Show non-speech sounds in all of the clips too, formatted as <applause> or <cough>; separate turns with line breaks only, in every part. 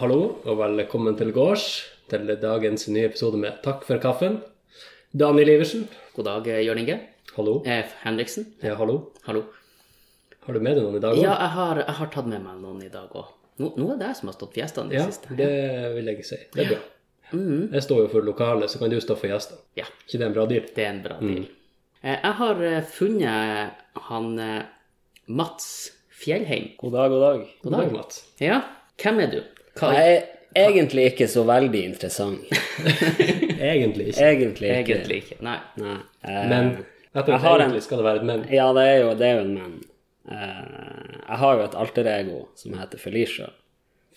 Hallo og velkommen til gårds til dagens nye episode med Takk for kaffen. Daniel Iversen.
God dag, eh, Jørn Inge.
Hallo.
Eh, Henriksen.
Ja, hallo.
Hallo.
Har du med deg noen i dag
Ja,
også?
jeg har, jeg har tatt med meg noen i dag òg. Nå, nå er det jeg som har stått gjestene i det siste.
det vil jeg si. Det er bra.
Mhm.
Jeg står jo for lokalet, så kan du stå for gjestene.
Ja,
Ikke det en bra deal?
det er en bra
Mm.
deal. Eh, jeg har eh, funnet han eh, Mats Fjellheim.
God dag, god dag.
God dag, Mats.
Ja, hvem er du? Hva
Jeg er egentlig ikke så veldig interessant.
Egentlig ikke.
Egentlig ikke.
egentlig ikke? Nei.
Nei. <laughs> Eh,
Men etter
Jeg
at
har en-
egentlig skal det være et men.
Ja, det er jo, det er jo en men. Eh, jeg har jo et alter ego som heter Felicia.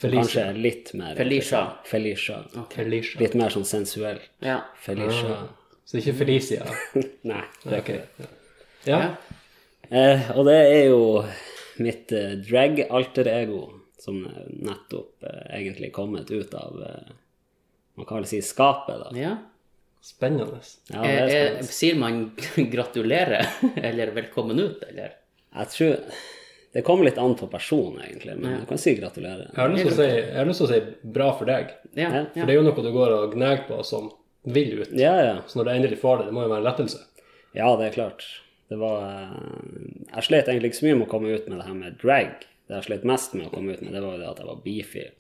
Kanskje
Felicia.
er litt mer
Felicia.
Felicia.
Felicia.
Litt mer sånn sensuell.
Ja.
Felicia.
Ah.
Så det er ikke Felicia.
<laughs> Nei.
Ok. Ja.
Eh, og det er jo mitt eh, drag-alter ego som nettopp eh, egentlig kommet ut av eh, Man kan vel si skapet, da.
ja.
Spennende.
Ja, det
Eh,
er
eh,
spennende.
sier man <laughs> gratulerer <laughs> eller velkommen ut, eller?
Jeg tror Det kommer litt an på personen, egentlig, men jeg kan si gratulerer.
Jeg har lyst til å si, jeg har lyst til å si bra for deg.
Ja.
Ja,
For det er jo noe du går og gnager på som vil ut.
Ja, ja.
Så når du endelig får det, det må jo være en lettelse.
Ja, det er klart. Det var eh, Jeg slet egentlig ikke så mye med å komme ut med det her med drag. Det jeg slet mest med å komme ut med, det var jo det at jeg var bifil.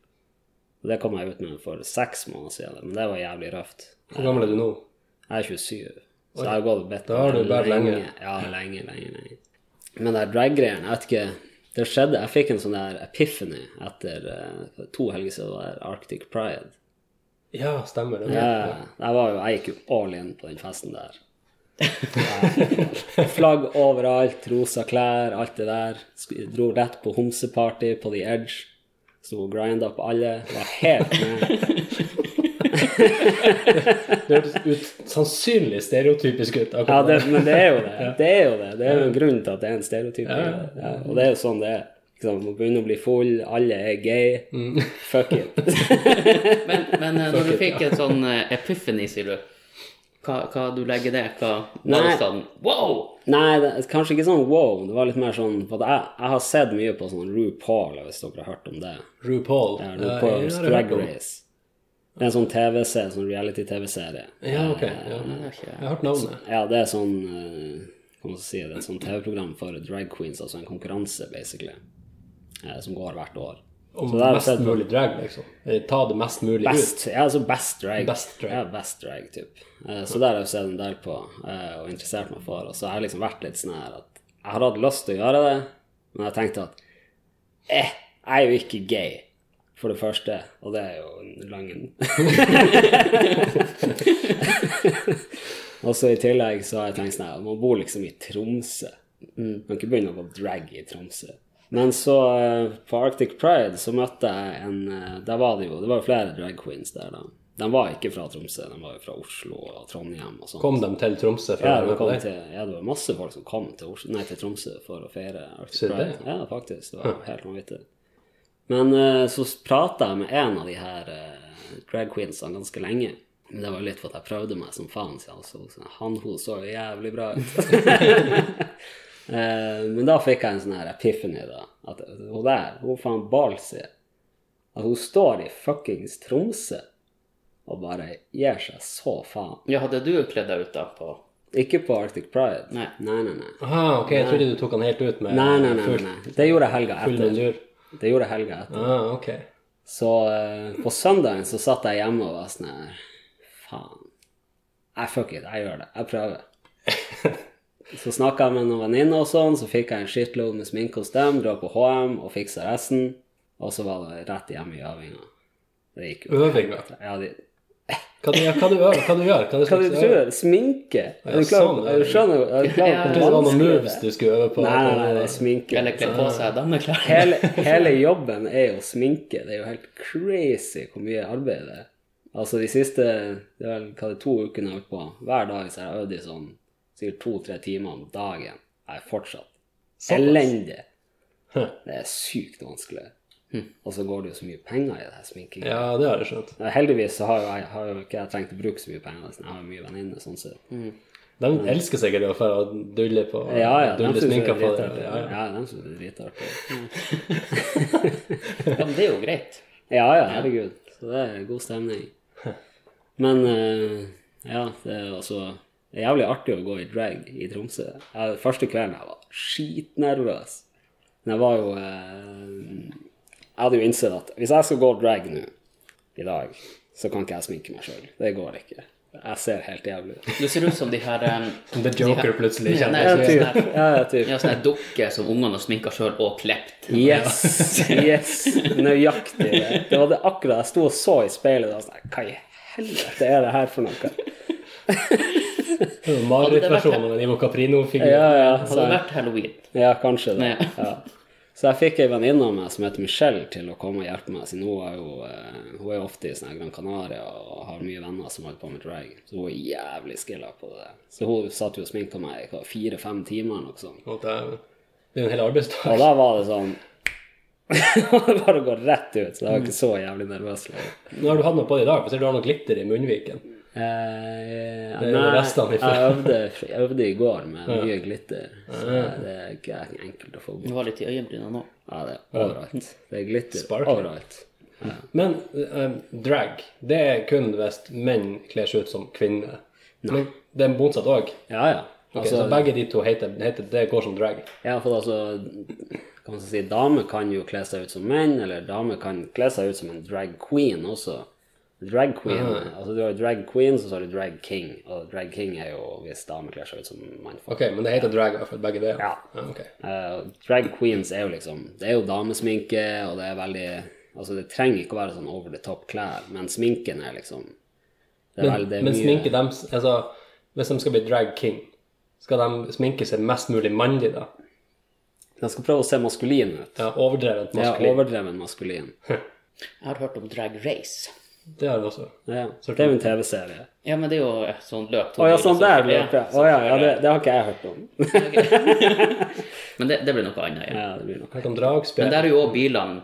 Og det kom jeg ut med for seks måneder siden, men det var jævlig røft.
Hvor gammel er du nå?
Jeg er 27, så jeg har gått og bedt
Da har du båret lenge.
Ja, lenge, lenge, lenge. Men det drag-greiene, jeg vet ikke Det skjedde Jeg fikk en sånn der epiphany etter eh, to helger siden det var Arctic Pride.
Ja, stemmer det.
Ja, jeg, var jo, jeg gikk jo all in på den festen der. Jeg- Flagg overalt, rosa klær, alt det der. Sk- Dro rett på homseparty på The Edge. Sto og grinda på alle. Var helt med.
Det høres ut sannsynlig stereotypisk ut.
Ja,
akkurat
det, men det er jo det. Det er jo det. Det er jo en grunn til at det er en stereotyp. Ja, og det er jo sånn det er. Ikke sant, Man begynner å bli full, alle er gay. Fuck it. <laughs>
Men, men eh, når du fikk en sånn eh, epiphany, sier du, hva, hva du legger det? Hva var det
Nei.
sånn Wow!
Nei, det, er kanskje ikke sånn wow. Det var litt mer sånn for at jeg, jeg har sett mye på sånn RuPaul, hvis dere har hørt om det.
RuPaul.
Ja, RuPaul's
jeg har hørt
Drag
om-
Race. Det er en sånn TV-serie, sånn reality-TV-serie.
Ja, ok. Ja. Jeg har hørt navnet.
Ja, det er sånn eh, Hva man skal si, det er et sånt TV-program for drag queens, altså en konkurranse, basically, eh, som går hvert år.
Om
Så der har jeg
mest
sett på.
mulig drag, liksom. Eller Ta det mest mulig ut.
Best, ja, altså best drag.
Best drag.
Ja, best drag, typ. Eh, Så der har jeg sett en del på eh, og interessert meg for. Og så har jeg liksom vært litt sånn her at jeg har hatt lyst til å gjøre det, men jeg tenkte at eh, jeg er jo ikke gay, for det første, og det er jo en lang en. og så i tillegg så har jeg tenkt sånn her, man bor liksom i Tromsø. Man kan ikke begynne å gå drag i Tromsø. Men så eh, på Arctic Pride så møtte jeg en eh, Der var det jo det var jo flere drag queens der, da. De var ikke fra Tromsø, de var jo fra Oslo og Trondheim og sånn.
Kom dem til Tromsø for
Ja,
å være
det
med på
kom
det?
til, ja, det var masse folk som kom til, Oslo, nei, til Tromsø for å feire Arctic
Se det.
Pride. Ja, faktisk. Det var helt vanvittig. Men eh, så prata jeg med en av de her eh, drag queensene ganske lenge. Men det var jo litt for at jeg prøvde meg som faen. Så jeg også, så han hun så jo jævlig bra ut. <laughs> Eh, men da fikk jeg en sånn her epiphany, da. At hun der, hun faen Balsi At hun står i fuckings Tromsø og bare gir seg så faen.
Ja, hadde du kledd deg ut da på
Ikke på Arctic Pride.
Nei.
nei, nei. nei.
Ah, ok, jeg trodde du tok han helt ut med
Nei, nei, nei,
full-
nei, nei. Det gjorde jeg helga
full
etter.
mundur.
Det gjorde jeg helga etter.
Ah, ok.
Så eh, på søndagen så satt jeg hjemme og var sånn her Faen. I fuck it, jeg gjør det. Jeg prøver. <laughs> Så snakka jeg med noen venninner og sånn, så fikk jeg en shitload med sminke hos dem, dro på HM og fiksa resten. Og så var det rett hjem i øvinga. Det gikk jo.
Øving, da.
Ja, de,
Hva du, hva du øver? Hva du gjør? Hva du
hva du
slags øver?
tror? Sminke? Er du klar?
sånn, ja.
Er du skjønner? Er sånn du klar
Ja,
på
Jeg trodde det var noen
vanskelig?
moves du skulle øve på.
Nei, nei, nei, det er sminke.
Eller kledd på seg dameklær?
hele, hele jobben er jo sminke. Det er jo helt crazy hvor mye arbeid det er. Altså de siste det er vel, hva det er, to ukene jeg har holdt på, hver dag så har jeg øvd i sånn sikkert to-tre timer om dagen. Jeg er fortsatt elendig. Det er sykt vanskelig. Hm. Og så går det jo så mye penger i det her sminkinga.
Ja, det har jeg skjønt.
Heldigvis så har jo, jeg, har jo ikke jeg trengt å bruke så mye penger. så Jeg har jo mye venninner sånn sett.
De elsker sikkert å dra og dulle på
Ja, ja. De
dulle
syns det
sminka
er
på det.
dritartig.
Ja, ja.
Ja, de syns det er dritartig.
Ja, men det er jo greit.
Ja, ja, herregud. Så det er god stemning. Men eh, ja, det er altså det er jævlig artig å gå i drag i Tromsø. Jeg, første kvelden jeg var skitnervøs. Men jeg var jo eh, Jeg hadde jo innsett at hvis jeg skal gå drag nå i dag, så kan ikke jeg sminke meg sjøl. Det går ikke. Jeg ser helt jævlig ut.
Du ser ut som de her um,
The Joker plutselig
Ja,
kjenner
nei,
seg.
typ.
Ja, ja, typ.
Ja, sånne dukker som ungene har sminka sjøl og klept.
Yes, yes, nøyaktig det. Det var det akkurat jeg sto og så i speilet. Og sånn, Hva i helvete er det her for noe?
Marerittversjonen av en Ivo Caprino-figur.
Ja, ja,
Hadde
så,
det vært halloween
ja kanskje det.
Nei.
Ja. Så jeg fikk ei venninne av meg som heter Michelle til å komme og hjelpe meg, siden hun er jo, eh, hun er jo ofte i sånne her Gran Canaria og har mye venner som holder på med drag. Så hun er jævlig skilla på det. Så hun satt jo og sminka meg i hva, fire-fem timer eller noe sånt.
Og Det er det er jo en hel arbeidsdag.
Og da var det sånn <laughs> Det bare går rett ut, så jeg var ikke så jævlig nervøs lenger.
Nå har du hatt noe på det i dag, for jeg ser du har noe glitter i munnviken.
Eh,
Det er jo
nei,
restene
jeg
ifra.
øvde, jeg øvde i går med mye glitter, så det er ikke enkelt å få
Du
bort.
har litt i øyenbryna nå.
Ja, det er overalt. Det er glitter
Sparkling.
overalt. Ja.
Men eh, drag, det er kun hvis menn kler seg ut som kvinner. Men det er motsatt òg.
ja, ja. Altså,
så begge de to heter, heter det går som drag.
ja, for altså kan man si, Damer kan jo kle seg ut som menn, eller damer kan kle seg ut som en drag queen også. Drag queen, altså Du har jo drag queen, så har du drag king, og drag king er jo hvis damer kler seg ut som mannfolk.
Ok, men det heter drag i hvert fall, begge det.
Ja.
ok.
Eh, drag queens er jo liksom Det er jo damesminke, og det er veldig Altså, det trenger ikke å være sånn over the top klær, men sminken er liksom det er
Men,
veldig, det er
men
mye-
sminke dem Altså, hvis de skal bli drag king, skal de sminke seg mest mulig mandig, da?
Den skal prøve å se maskulin ut.
Ja, overdrevent
Ja,
maskulin.
overdreven maskulin.
Jeg har hørt om drag race.
Det har vi også.
Ja, det er jo en TV-serie.
Ja, men det er jo et sånt løp.
Å ja, sånn der ble det. Å ja, ja,
så-
det, det har ikke jeg hørt om.
<laughs>
<laughs>
Men det, det blir noe annet. Ja.
Ja, det blir nok
Hørt om
Men
dragspill,
der er jo også bilene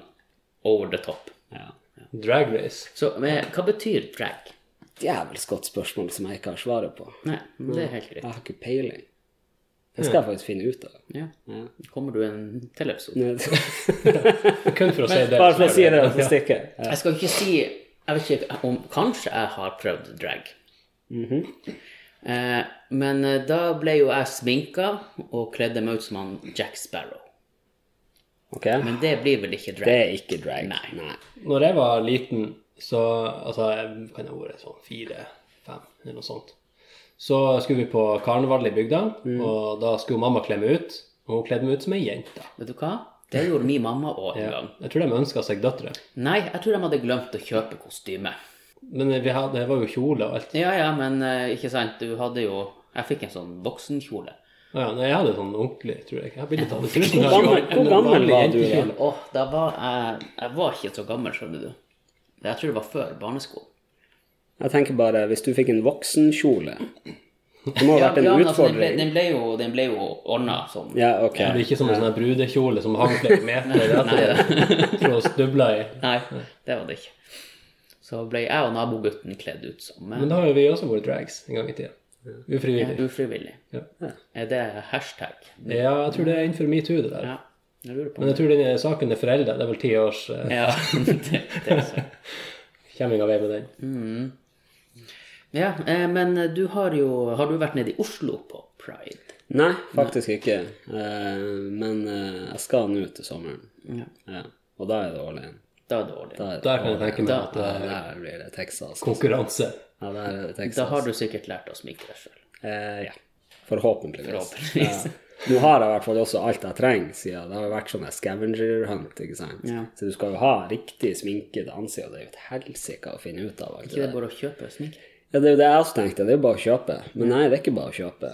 over the top.
ja.
drag race.
Så men, hva betyr drag?
Djevelsk godt spørsmål som jeg ikke har svaret på.
Nei, det er helt greit.
Jeg har ikke peiling. Det skal jeg faktisk finne ut av. <laughs>
Ja.
Ja.
Kommer du en til episode?
Kun
<laughs>
for å si det.
Bare for å si det, og så stikker jeg.
Jeg skal ikke si Jeg vet ikke om Kanskje jeg har prøvd drag.
Mhm.
eh, men eh, da ble jo jeg sminka og kledde meg ut som han Jack Sparrow.
Ok?
Men det blir vel ikke drag?
Det er ikke drag.
Nei.
Nei.
Når jeg var liten, så altså, jeg kan jeg ha vært sånn fire-fem, eller noe sånt. Så skulle vi på karneval i bygda,
Mm.
og da skulle mamma kle meg ut. Og hun kledde meg ut som ei jente.
Vet du hva? Det gjorde min mamma òg en gang.
Jeg tror de ønska seg døtre.
Nei, jeg tror de hadde glemt å kjøpe kostyme.
Men vi hadde, det var jo kjole og alt.
Ja ja, men eh, ikke sant, du hadde jo Jeg fikk en sånn voksenkjole.
Ja, nei, jeg hadde sånn ordentlig, tror jeg. jeg hadde blitt litt
Hvor gammel, hvor gammel var du da?
Åh, da var jeg Jeg var ikke så gammel, skjønner du. Jeg tror det var før barneskolen.
Jeg tenker bare, hvis du fikk en voksenkjole Det må ha vært en
men altså, den, ble,
utfordring.
den ble jo, den ble jo ordna sånn.
Ja, ok.
Det er ikke som en sånn her brudekjole som hang flere meter etter for å snuble i.
<laughs> Nei, det var det ikke. Så ble jeg og nabogutten kledd ut som eh,
Men da har jo vi også vært drags en gang i tida. Ufrivillig.
ufrivillig.
Ja.
Er det hashtag?
ja, jeg tror det er innenfor metoo, det der.
Ja, jeg lurer på
Men jeg tror denne saken er foreldet. Det er vel ti års uh,
Ja, <laughs> det, det er sant.
kjemming av vei med den.
Ja, eh, men du har jo Har du vært nede i Oslo på Pride?
Nei, faktisk ikke. Eh, men eh, jeg skal nå til sommeren.
Ja.
Ja. Og da er det all in.
Da er det årlig.
Da er det
Der kan jeg tenke meg
Da-
at
ja,
det er
der blir det Texas.
konkurranse.
Ja, der er det
Da
Texas.
har du sikkert lært å sminke deg sjøl.
Eh, ja. Forhåpentligvis.
Forhåpentligvis.
Ja. Nå har jeg i hvert fall også alt jeg trenger, siden det har jo vært sånn her scavenger hunt, ikke sant.
Ja.
Så du skal jo ha riktig sminket ansikt, og det er jo et helsike å finne ut av. alt
Ikke
der.
det bare å kjøpe sminke?
Ja, det er jo det jeg også tenkte. Det er jo bare å kjøpe. Men nei, det er ikke bare å kjøpe.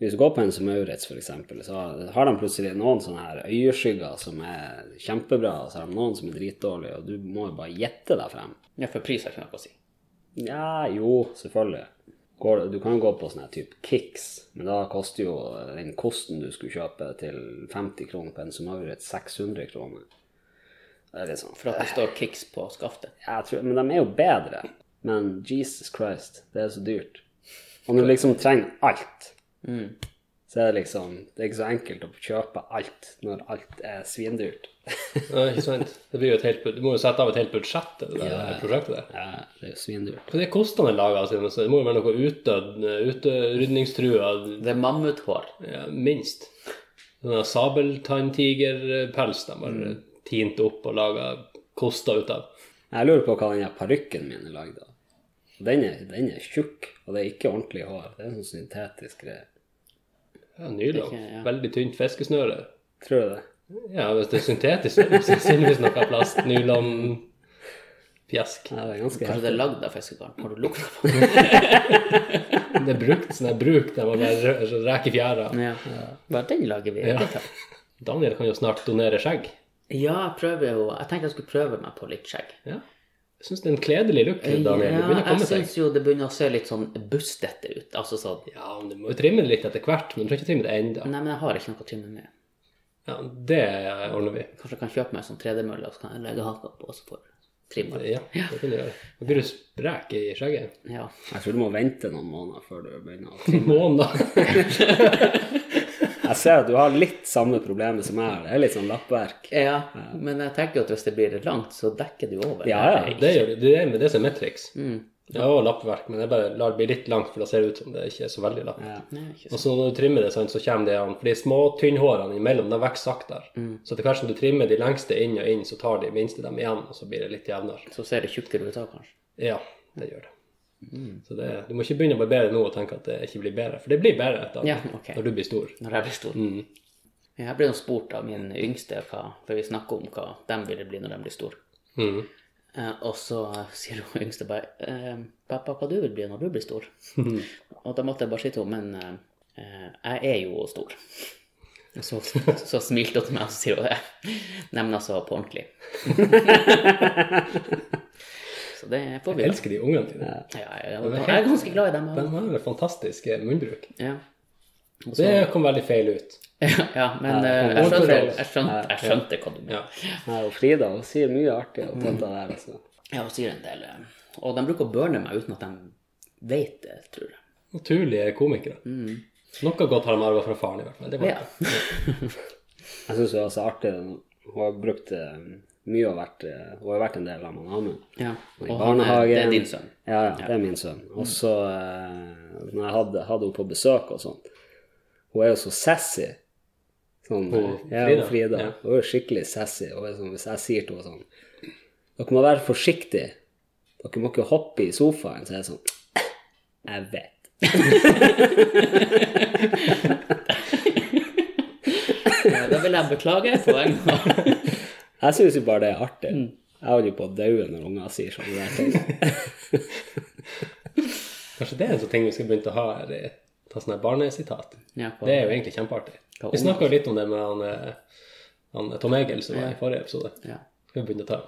Hvis du går på en som Maurits, for eksempel, så har de plutselig noen sånne her øyeskygger som er kjempebra, og så har de noen som er dritdårlige, og du må jo bare gjette deg frem.
Ja, for pris har ikke noe å si.
Ja, jo, selvfølgelig. Går, du kan jo gå på sånne her type Kicks, men da koster jo eh, den kosten du skulle kjøpe til 50 kroner på en som Maurits, 600 kroner. Det er litt sånn
For at det står Kicks på skaftet.
jeg tror, men de er jo bedre. Men Jesus Christ, det er så dyrt. Og når du liksom trenger alt, så er det liksom Det er ikke så enkelt å kjøpe alt når alt er svindyrt. <laughs>
Nei, ikke sant? Det blir jo et helt, bud- du må jo sette av et helt budsjett til det der
Ja.
prosjektet der.
Ja, det er jo svindyrt.
For det er kostende laga, så det må jo være noe utdødd, utrydningstrua
Det er mammuthår.
ja, minst. Sånn der sabeltanntigerpels de
Mm.
bare tinte opp og laga koster ut av.
Jeg lurer på hva den her parykken min er lagd av. Og Den er, den er tjukk, og det er ikke ordentlig hår. Det er sånn syntetisk greie.
Ja, Nylon.
Ikke, ja.
Veldig tynt fiskesnøre.
Tror du det?
Ja, hvis det er syntetisk, så er det sannsynligvis noe plast, nylon, pjesk.
Ja, det er ganske
Kanskje
heftig.
det er lagd av fiskegarn? Har du lukta
<laughs>
på det?
Det er brukt sånn her bruk der man bare rø- reker fjæra.
Ja. Bare den lager vi.
Ja.
Det tar-
Daniel kan jo snart donere skjegg.
Ja, jeg prøver jo Jeg tenkte jeg skulle prøve meg på litt skjegg.
Ja. Jeg syns det er en kledelig look, Daniel. Det
Eh, Ja,
begynner å
jeg
komme seg.
syns jo det begynner å se litt sånn bustete ut. Altså sånn
Ja, men du må jo trimme det litt etter hvert, men du trenger ikke trimme det ennå.
Nei, men jeg har ikke noe å trimme med.
Ja, det ordner vi.
Kanskje jeg kan kjøpe meg en sånn 3D-mølle, og så kan jeg legge haka på, og så får jeg trimma.
Ja, det kan du gjøre. Da blir du sprek i skjegget.
Ja.
Jeg tror du må vente noen måneder før du begynner å
<laughs>
Måneder.
Jeg ser at du har litt samme problemet som jeg har. Det er litt sånn lappverk.
ja, men jeg tenker jo at hvis det blir langt, så dekker det jo over.
Ja, ja.
Det gjør du. Det er det som er mitt triks.
Mm.
Det er også lappverk, men jeg bare lar det bli litt langt, for da ser det ut som det ikke er så veldig lapp.
Ja.
Nei, ikke
Og
sant.
så når du trimmer det, sant, så kommer det an. For de små, tynnhårene imellom, de vokser saktere.
Mm.
Så etter hvert som du trimmer de lengste inn og inn, så tar de minste dem igjen, og så blir det litt jevnere.
Så ser det tjukkere ut da, kanskje.
Ja, det gjør det.
Mm.
Så det, du må ikke begynne å barbere nå og tenke at det ikke blir bedre, for det blir bedre etter
Ja, ok.
når du blir stor.
Når jeg blir stor.
Mm.
Ja, Jeg ble jo spurt av min yngste hva, for vi snakker om hva de ville bli når de blir store.
Mm.
Eh, og så sier hun yngste bare eh, 'Pappa, hva du vil bli når du blir <laughs> stor?' og da måtte jeg bare si til henne 'Men eh, eh, jeg er jo stor'. Og <laughs> Så, så smilte hun til meg og så sier hun det. Nei, men altså på <laughs> ordentlig. så det får vi
Jeg
gjøre.
elsker de ungene dine.
Ja, jeg, jeg, jeg er ganske glad i dem.
De
jeg.
har en fantastisk eh, munnbruk.
Ja. Og
Det
så-
kom veldig feil ut.
ja, <laughs> men eh, jeg skjønte, jeg, skjønte, jeg skjønte hva du mente.
Ja.
Nei, og Frida hun sier mye artig om dette der. Altså.
Ja, hun sier en del. eh, Og de bruker å burne meg uten at de vet det, tror jeg. Mm.
Naturlige komikere. Noe godt har de arva fra faren, i hvert fall. Det var
Ja.
Jeg syns hun er så artig. den- Hun har brukt eh, mye og vært eh, Hun har vært en del av Maname.
ja.
I
Og han er, det er din sønn.
Ja, ja, det er min sønn. Og så, eh, når jeg hadde, hadde hun på besøk og sånn Hun er jo så sassy. Sånn,
Hun,
ja,
Frida?
Frida. Frida.
Ja.
Hun er skikkelig sassy. Hun er sånn, hvis jeg sier til henne sånn Dere må være forsiktige. Dere må ikke hoppe i sofaen. Så er jeg sånn Jeg vet.
Ja, Da vil jeg beklage på vegne av
Jeg syns jo bare det er artig. Jeg holder jo på å daue når unger sier sånne der ting.
Kanskje det er en sånn ting vi skal begynne å ha her, eh, ta sånne her barnesitat.
ja, på-
Det er jo egentlig kjempeartig.
Hva
Vi
om-
snakka jo litt om det med han, eh, han Tom Egil som var i forrige episode.
ja.
Skal vi begynne å ta?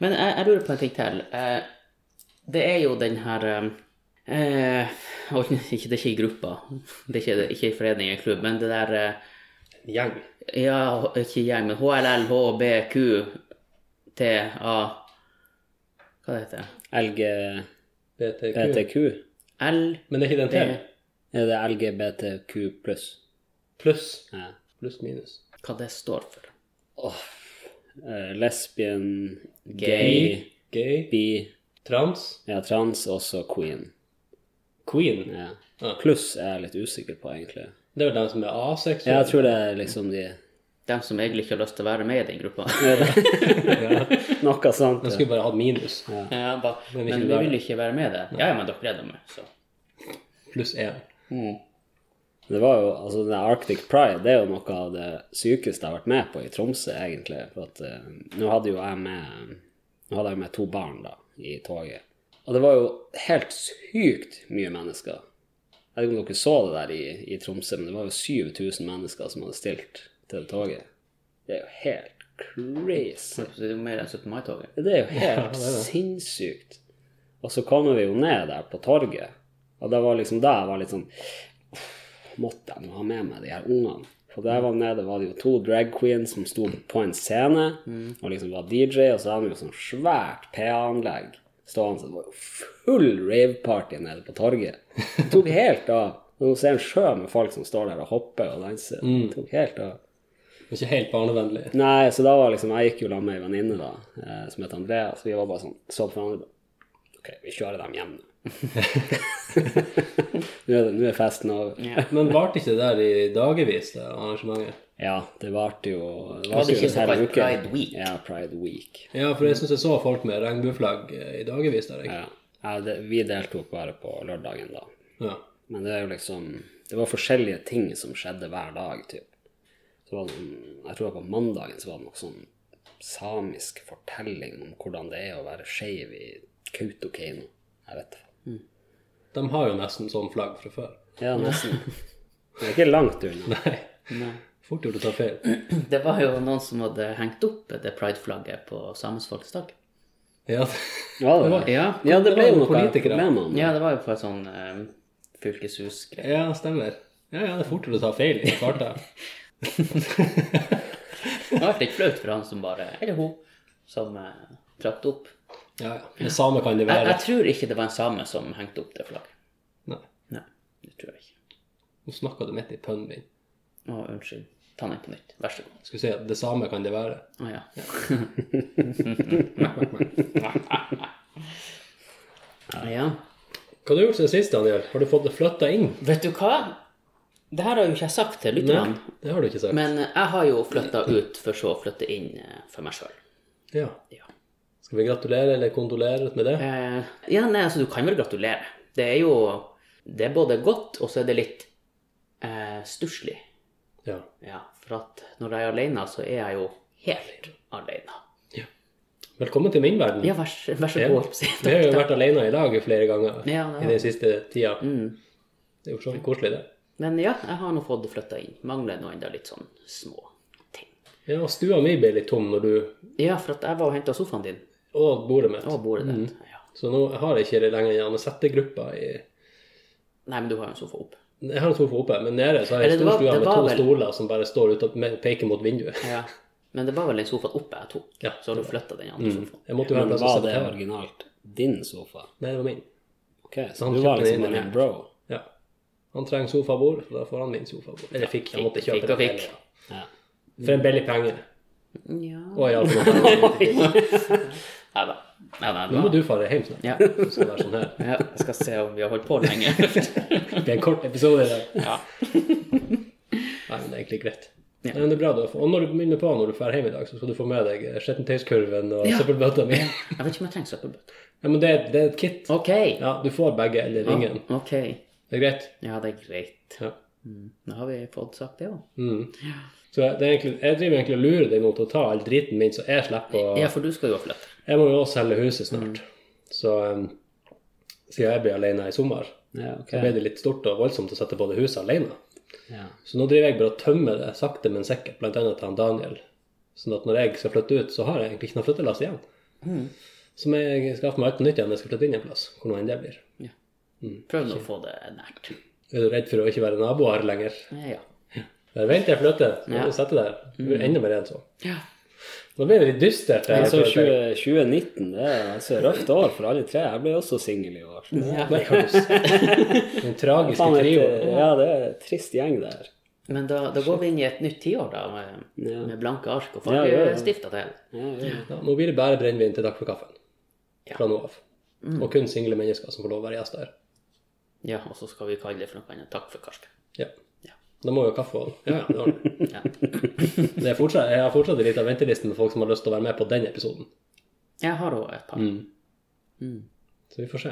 Men jeg, jeg lurer på en ting til. Eh, Det er jo den her eh, og <laughs> ikke, Det er ikke i gruppa, det er ikke, ikke i forening, i klubb, men det der eh,
En gjeng.
Ja, ikke gjeng, men HLL, HBQ, TA Hva det heter det?
BTQ.
LGBTQ.
L
Men det er ikke den til.
Det-
Er det LGBTQ pluss?
Pluss.
Ja.
Pluss minus.
hva det står for.
Eh, lesbien,
Gay.
gay,
Gay.
bi,
Trans.
ja, trans, og så queen.
Queen.
Ja.
Ja.
Pluss er jeg litt usikker på, egentlig.
Det er vel den som er aseksuell.
Jeg tror det er liksom de
De som egentlig ikke har lyst til å være med i den gruppa.
<laughs>
Noe sånt.
Den
Ja.
skulle bare hatt minus.
Ja, bare,
Men
men
vi
vi
vil være
vil ikke være med i det. Ja, ja, men dere er da med, så.
Pluss én.
Det var jo, altså det Arctic Pride det er jo noe av det sykeste jeg har vært med på i Tromsø, egentlig. For at eh, nå hadde jo jeg med nå hadde jeg med to barn da, i toget. Og det var jo helt sykt mye mennesker. Jeg vet ikke om dere så det der i, i Tromsø, men det var jo 7000 mennesker som hadde stilt til det toget. Det er jo helt crazy.
Så det er jo mer enn 17. mai-toget.
Det er jo helt sinnssykt. Og så kommer vi jo ned der på torget, og det var liksom da jeg var litt sånn «Uff, Måtte jeg nå ha med meg de her ungene? For der var nede var det jo to drag queens som sto på en scene og liksom var DJ, og så hadde de jo sånn svært PA-anlegg stående, så det var jo full rave-party nede på torget. Det tok helt av. Når du ser en sjø med folk som står der og hopper og danser,
Mm.
det tok helt av.
Ikke helt barnevennlig.
Nei, så da var liksom, jeg gikk jo sammen med ei venninne da, eh, som het Andrea, så vi var bare sånn, så på hverandre bare, ok, vi kjører dem hjem
<laughs>
nå. nå, er det, nå er festen over.
Ja.
Men varte ikke det der i dagevis, det arrangementet?
Ja, det varte jo...
Var det
Det varte jo
ikke
en hel
såkalt
uke.
Pride Week?
Ja, Pride Week.
Ja, for jeg syns jeg så folk med regnbueflagg eh, i dagevis der. Jeg.
Ja. Ja, det, vi deltok bare på lørdagen da.
Ja.
Men det er jo liksom, det var forskjellige ting som skjedde hver dag, typ. Så var det, sånn- jeg tror det var på mandagen så var det noe sånn samisk fortelling om hvordan det er å være skeiv i Kautokeino. Jeg vet det.
De har jo nesten sånn flagg fra før. <laughs>
Ja, nesten. Det er ikke langt unna.
Nei,
Nei.
fort gjort å ta feil.
<clears throat> Det var jo noen som hadde hengt opp det prideflagget på Samisk folkesdag.
Ja,
Ja, det, var,
Ja,
ja, det ble jo noe
Politikere.
problemer med
ja det var jo på et sånn eh, fylkeshusgreie.
ja stemmer. Ja, ja, det er fort gjort å ta feil i farta.
Det ble litt flaut for han som bare Eller hun som eh, trakk det opp.
Ja, ja. Det samme kan det
Jeg,
være.
jeg tror ikke det var en same som hengte opp det flagget.
Nei,
Nei, det tror jeg ikke.
nå snakka du midt i pønnen min.
Å, unnskyld. Ta den på nytt. Vær så god.
Skulle si at det samme kan det være.
Å ja. ja.
Hva har du gjort siden sist, Daniel? Har du fått det flytta inn?
Vet du hva? Det her har jo ikke jeg sagt til lytterne.
det har du ikke sagt.
Men jeg har jo flytta ut for så å flytte inn eh, for meg sjøl.
Ja.
Ja.
Skal vi gratulere eller kondolere med det?
Eh, ja, nei, altså du kan vel gratulere. Det er jo Det er både godt, og så er det litt eh, stusslig.
Ja.
Ja, for at når jeg er aleine, så er jeg jo helt aleine.
Velkommen til min verden.
Ja, vær, s- vær så god.
Vi har jo vært alene i lag flere ganger
Ja, det har
i den siste tida.
Mm.
Det er jo så koselig, det.
Men ja, jeg har nå fått det flytta inn. Mangler nå enda litt sånn små ting.
Ja, og stua mi ble litt tom når du
Ja, for at jeg var og henta sofaen din
og bordet mitt.
og bordet ditt. Ja.
Så nå har jeg ikke lenger gjerne settegruppa i
Nei, men du har jo en sofa opp.
Jeg har en sofa oppe, men nede så har jeg
Eller det var-
storstua
det
med
var
to
vel-
stoler som bare står ute og peker mot
<laughs>
vinduet.
Ja. Men det var vel en sofa oppe jeg tok,
Ja,
så har du flytta den andre sofaen.
Mm. Jeg måtte jo ha en
Men
plass å
var
sette
det
TV.
originalt din sofa?
Nei, det var min.
Ok, så
Han
du var
kjøpte
liksom
den
bare
inn.
en bro?
Ja. Han trenger sofabord, så da får han min sofabord. Eller fikk, jeg måtte
Fikk
kjøpe
og
det.
fikk.
heller.
Ja.
For en billig penge.
Ja.
Og i alle
<laughs>
fall.
Nei da. Nei, nei,
Nå må
det var...
du fare hjem snart.
Ja.
Det skal være sånn her.
ja. Jeg skal se om vi har holdt på lenge.
Det blir en kort episode i dag.
Ja.
Nei, men det er egentlig greit.
Ja.
Men det er bra du har fått. Og når du begynner på når du drar hjem i dag, så skal du få med deg eh, skittentøyskurven og
Ja.
søppelbøtta mi.
Jeg vet ikke om jeg trenger søppelbøtte.
Ja, men det, er- det er et kit.
OK.
Ja, du får begge eller ingen.
OK.
Det er greit.
Ja, det er greit.
Ja.
Mm. Da har vi fått sagt det òg.
Mm. Så det er egentlig, jeg driver egentlig og lurer deg mot å ta all driten min, så jeg slipper å
Ja, for du skal jo flytte.
Jeg må jo også selge huset snart. Så um, siden jeg ble alene i sommer,
Ja, ok.
så ble det litt stort og voldsomt å sette på det huset alene.
Ja.
Så nå driver jeg bare og tømmer det sakte, men sikkert, blant annet til han Daniel. Sånn at når jeg skal flytte ut, så har jeg egentlig ikke noe flyttelass igjen. Så må jeg skaffe meg alt på nytt igjen når jeg skal flytte inn en plass, hvor nå enn det blir.
Prøv nå å få det nært.
Er du redd for å ikke være naboer lenger?
Ja.
Bare vent til jeg flytter, så
Ja.
må du sette deg. Du blir enda mer en sånn.
ja.
Nå blir det litt dystert. jeg
Altså,
føler.
20, 2019, det er altså et røft år for alle tre. Jeg ble også singel i år. Det
Nei, har du s- Den
er
tragiske
faen et-
trioen.
Ja, det er et trist gjeng der.
Men da, da går vi inn i et nytt tiår, da, med,
Ja.
med blanke ark og
Ja, ja, ja.
fargestifter til.
Ja, ja.
Ja, nå blir det bare brennevin til takk for kaffen.
Ja.
Fra nå av. Og kun single mennesker som får lov å være gjester her.
Ja, og så skal vi kalle det for noe annet. Takk for karsk.
Ja.
Ja.
Da må jo kaffe og Ja, ja. Det ordner vi.
Ja.
Det er fortsatt, jeg har fortsatt litt av ventelisten med folk som har lyst til å være med på den episoden.
Jeg har òg et par.
Så vi får se.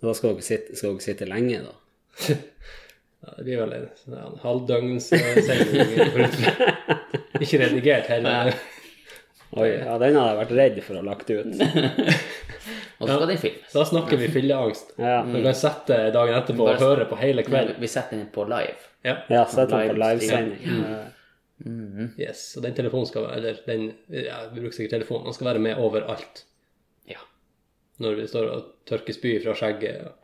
Da skal dere sitte, skal dere sitte lenge, da.
Ja, det blir vel en sånn her halvdøgns eh, sending. Ikke redigert heller.
Oi, ja, den hadde jeg vært redd for å ha lagt ut.
Og så skal den filmes.
Da snakker vi fylleangst.
Ja,
Du kan sette dagen etterpå og
Bare-
høre på hele
Men
kvelden.
vi setter den på live.
Ja.
ja sett den på
Live-
livesending. Ja.
Yes. Og den telefonen skal være Eller den ja, Vi bruker sikkert telefonen. Den skal være med overalt.
Ja.
Når vi står og tørker spy fra skjegget. og-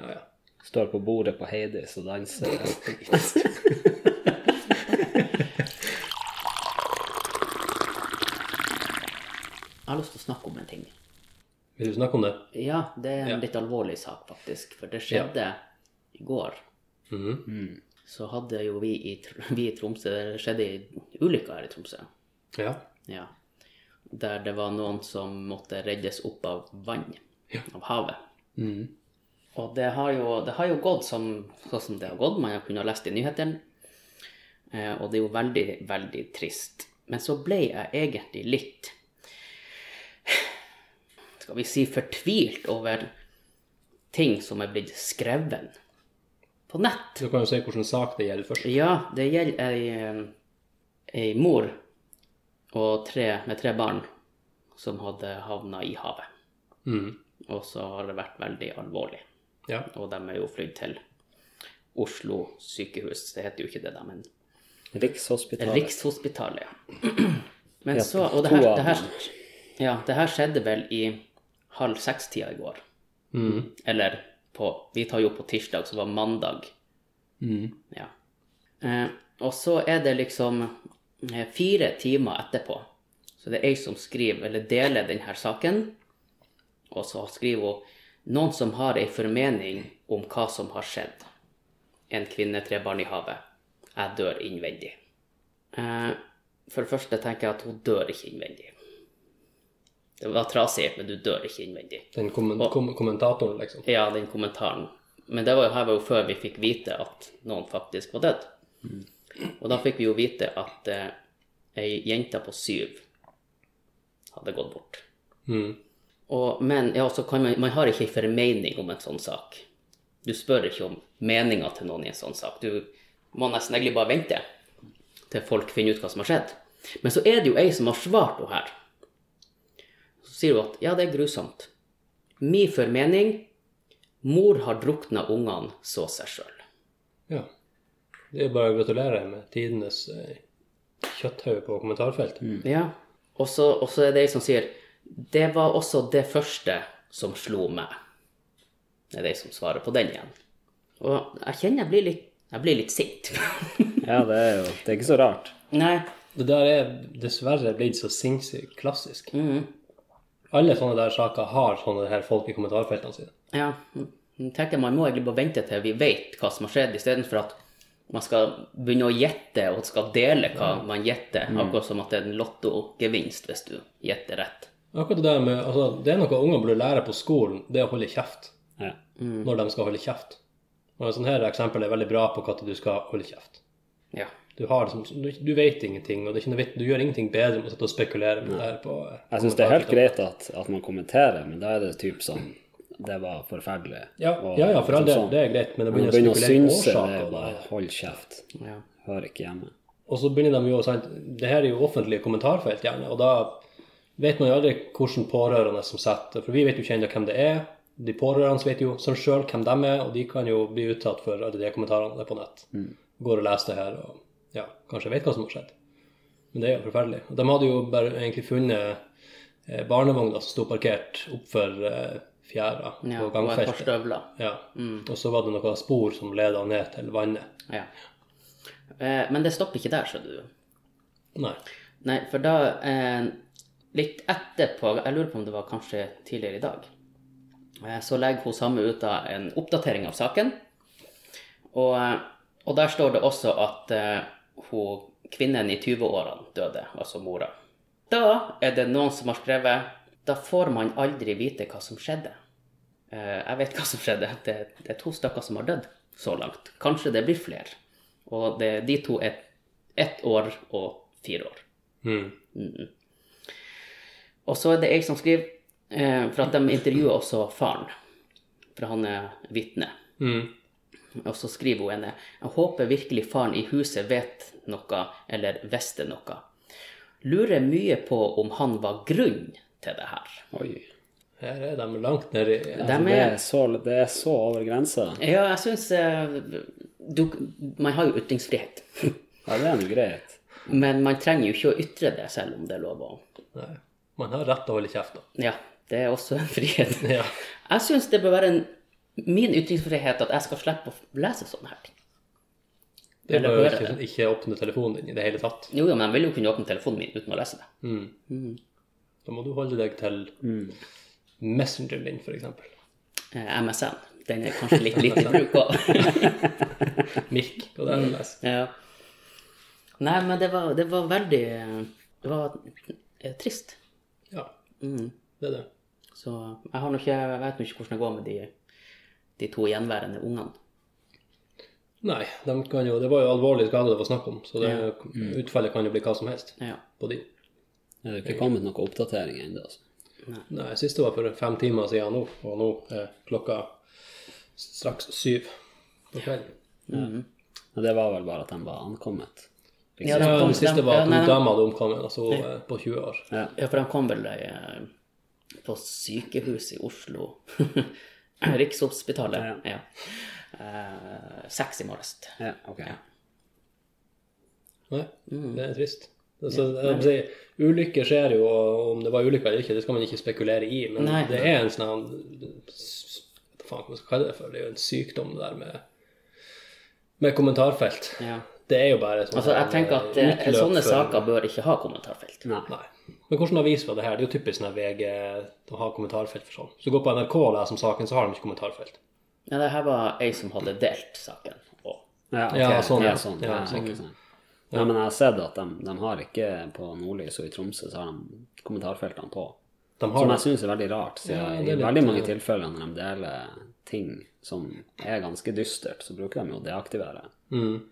Ja, ja.
Står på bordet på Heidis og danser.
Jeg har lyst til å snakke om en ting.
Vil du snakke om det?
Ja, det er en
Ja.
litt alvorlig sak, faktisk. For det skjedde i går. Mm.
Mhm.
så hadde jo vi i, Tr- <laughs> vi i Tromsø Det skjedde ei ulykke her i Tromsø.
Ja.
Ja. Der det var noen som måtte reddes opp av vann, av havet.
Mhm.
Og det har jo, det har jo gått som, sånn som det har gått. Man har kunnet lest i nyhetene. Eh, og det er jo veldig, veldig trist. Men så ble jeg egentlig litt Skal vi si fortvilt over ting som er blitt skrevet på nett.
Du kan jo si hvilken sak det gjelder først.
Ja, det gjelder ei, eh, ei mor og tre, med tre barn som hadde havna i havet.
Mhm.
Og så har det vært veldig alvorlig.
Ja.
Og de er jo flydd til Oslo sykehus. Det heter jo ikke det, da, men
Rikshospitalet.
Rikshospitalet.
<clears throat>
ja. Men
Ja,
så Og det
to
her,
av
det her,
dem.
ja, det her skjedde vel i halv seks-tida i går.
Mhm.
Eller på Vi tar jo på tirsdag, så det var mandag.
Mm.
Mhm.
Ja. Eh, og så er det liksom eh, fire timer etterpå. Så det er ei som skriver, eller deler denne saken. Og så skriver hun noen som har ei formening om hva som har skjedd. En kvinne, tre barn i havet. Jeg dør innvendig. Eh, for det første tenker jeg at hun dør ikke innvendig. Det var trasig, men du dør ikke innvendig.
Den kommen- kom kommentatoren, liksom.
Ja, den kommentaren. Men det var jo her var jo før vi fikk vite at noen faktisk var dødd. Og da fikk vi jo vite at eh, ei jente på syv hadde gått bort.
Mhm.
Og, men ja, så kan man, man har ikke en formening om en sånn sak. Du spør ikke om meninga til noen i en sånn sak. Du må nesten egentlig bare vente til folk finner ut hva som har skjedd. Men så er det jo ei som har svart henne her. Så sier hun at ja, det er grusomt. Mi formening mor har drukna ungene, så seg sjøl.
Ja. Det er bare å gratulere med tidenes eh, kjøtthaug på kommentarfeltet.
Mm.
Ja. Og så, og så er det ei som sier Det var også det første som slo meg. Det er de som svarer på den igjen. Og jeg kjenner jeg blir litt, jeg blir litt sint. <laughs>
Ja, det er jo Det er ikke så rart.
Nei.
Det der er dessverre blitt så sinnssykt klassisk.
Mm,
Alle sånne der saker har sånne her folk i kommentarfeltene sine.
ja. Jeg tenker Man må egentlig bare vente til vi vet hva som har skjedd, istedenfor at man skal begynne å gjette og skal dele hva man gjetter. Akkurat som at det er en lottogevinst hvis du gjetter rett.
Akkurat Det der med, altså, det er noe unger burde lære på skolen, det er å holde kjeft
Ja.
når de skal holde kjeft. Og et sånt her eksempel er veldig bra på når du skal holde kjeft.
Ja.
Du, har, liksom- du, du vet ingenting, og det er ikke noe vits- du gjør ingenting bedre med å sitte og spekulere på det her. på... eh,
Jeg syns det er helt greit at, at man kommenterer, men da er det typ sånn Det var forferdelig.
Ja,
og
ja, ja, for all
sånn
del,
sånn.
det er greit, men å
Men å
begynne å spekulere på
synse, det
årsaker
er
og det
bare
her.
hold kjeft.
ja.
Hører ikke hjemme.
Og så begynner de jo å si det her er jo offentlige kommentarfelt, gjerne, og da vet man jo aldri hvordan pårørende som setter For vi vet jo ikke ennå hvem det er. De pårørende vet jo seg sjøl hvem de er, og de kan jo bli utsatt for alle de kommentarene der på nett.
Mm.
Går og leser det her og ja, kanskje vet hva som har skjedd. Men det er jo forferdelig. Og de hadde jo bare egentlig funnet eh, barnevogna som sto parkert oppfor eh, fjæra
ja.
på
Og et par Mm.
gangfeltet.
støvler.
Ja. Og så var det noen spor som leda ned til vannet.
Ja. Eh, Men det stopper ikke der, skjønner du.
Nei.
Nei, for da eh, Litt etterpå, jeg lurer på om det var kanskje tidligere i dag, eh, så legger hun samme ut da en oppdatering av saken. Og, eh, og der står det også at eh, hun, kvinnen i 20-årene døde, altså mora. Da er det noen som har skrevet Da får man aldri vite hva som skjedde. Eh, jeg vet hva som skjedde. Det, det er to stykker som har dødd så langt. Kanskje det blir flere. Og det, de to er ett år og fire år.
Mm.
Og så er det jeg som skriver, eh, for at de intervjuer også faren, for han er vitne.
Mm.
Og så skriver hun henne Jeg håper virkelig faren i huset vet noe, eller visste noe. Lurer mye på om han var grunnen til det her.
Oi.
Her er de langt nedi
De
Altså, Det
er,
er så, det er så over grensa.
ja, jeg syns eh, du, Man har jo ytringsfrihet. <laughs>
Ja, det er nå greit.
Men man trenger jo ikke å ytre det, selv om det er lov å
Nei. Man har rett til å holde kjeft, da.
Ja, det er også en frihet.
<laughs> Ja.
Jeg syns det bør være en, min ytringsfrihet at jeg skal slippe å lese sånne her ting.
Det er
Eller
bare
høre
ikke, ikke åpne telefonen din i det hele tatt.
Jo, jo, men jeg vil jo kunne åpne telefonen min uten å lese det.
Mm. Da må du holde deg til
Mm.
messengeren din, f.eks.
Eh, MSN. Den er kanskje litt lite i bruk òg.
Mirk. Hva
Mm.
det er å lese.
<laughs> Ja. Nei, men det var, det var veldig eh, Det var eh, trist.
Ja,
Mm.
det er det.
Så jeg har nå ikke Jeg vet nå ikke hvordan det går med de, de to gjenværende ungene.
Nei, de kan jo, det var jo alvorlig skade det var snakk om, så det,
Ja. Mm.
utfallet kan jo bli hva som helst
Ja.
på de.
Det er jo ikke kommet noen oppdateringer ennå, altså.
Nei, siste var for fem timer siden nå, og nå er klokka straks syv på kvelden.
Mhm.
Men det var vel bare at de var ankommet.
Ja,
Ja, de
den,
kom-
siste
de-
var
ja,
at
nei,
hun
de-
dama hadde omkommet, altså hun eh, på 20 år.
Ja.
Ja, for de kom vel eh, på sykehus i Oslo. <laughs> Rikshospitalet. Ja. Eh, seks i morges.
ja ok.
Nei,
Mm.
det er trist. Altså, jeg vil si, ulykker skjer jo, og om det var ulykker eller ikke, det skal man ikke spekulere i, men
Nei.
det er en sånn s- Hva faen hva skal man kalle det for? Det er jo en sykdom, det der med, med kommentarfelt.
Ja.
Det er jo bare sånn
Altså, jeg tenker at eh,
utløp
sånne
for-
saker bør ikke ha kommentarfelt.
Nei.
Nei. Men hvordan avis var det her? Det er jo typisk når VG de har kommentarfelt for sånn. Hvis du går på NRK og leser om saken, så har de ikke kommentarfelt.
Ja, det her var ei som hadde delt saken. Og,
Ja, ok.
Ja, sånn,
ja,
ja.
sånn.
Ja,
Ja,
sånn.
ikke sånn. Nei, men jeg har sett at de, de har ikke på Nordlys og i Tromsø så har de kommentarfeltene på.
De har
Som jeg syns er veldig rart. Siden
Ja, det er
I
litt, eh,
veldig mange
ja.
tilfeller når de deler ting som er ganske dystert, så bruker de jo å deaktivere.
mm.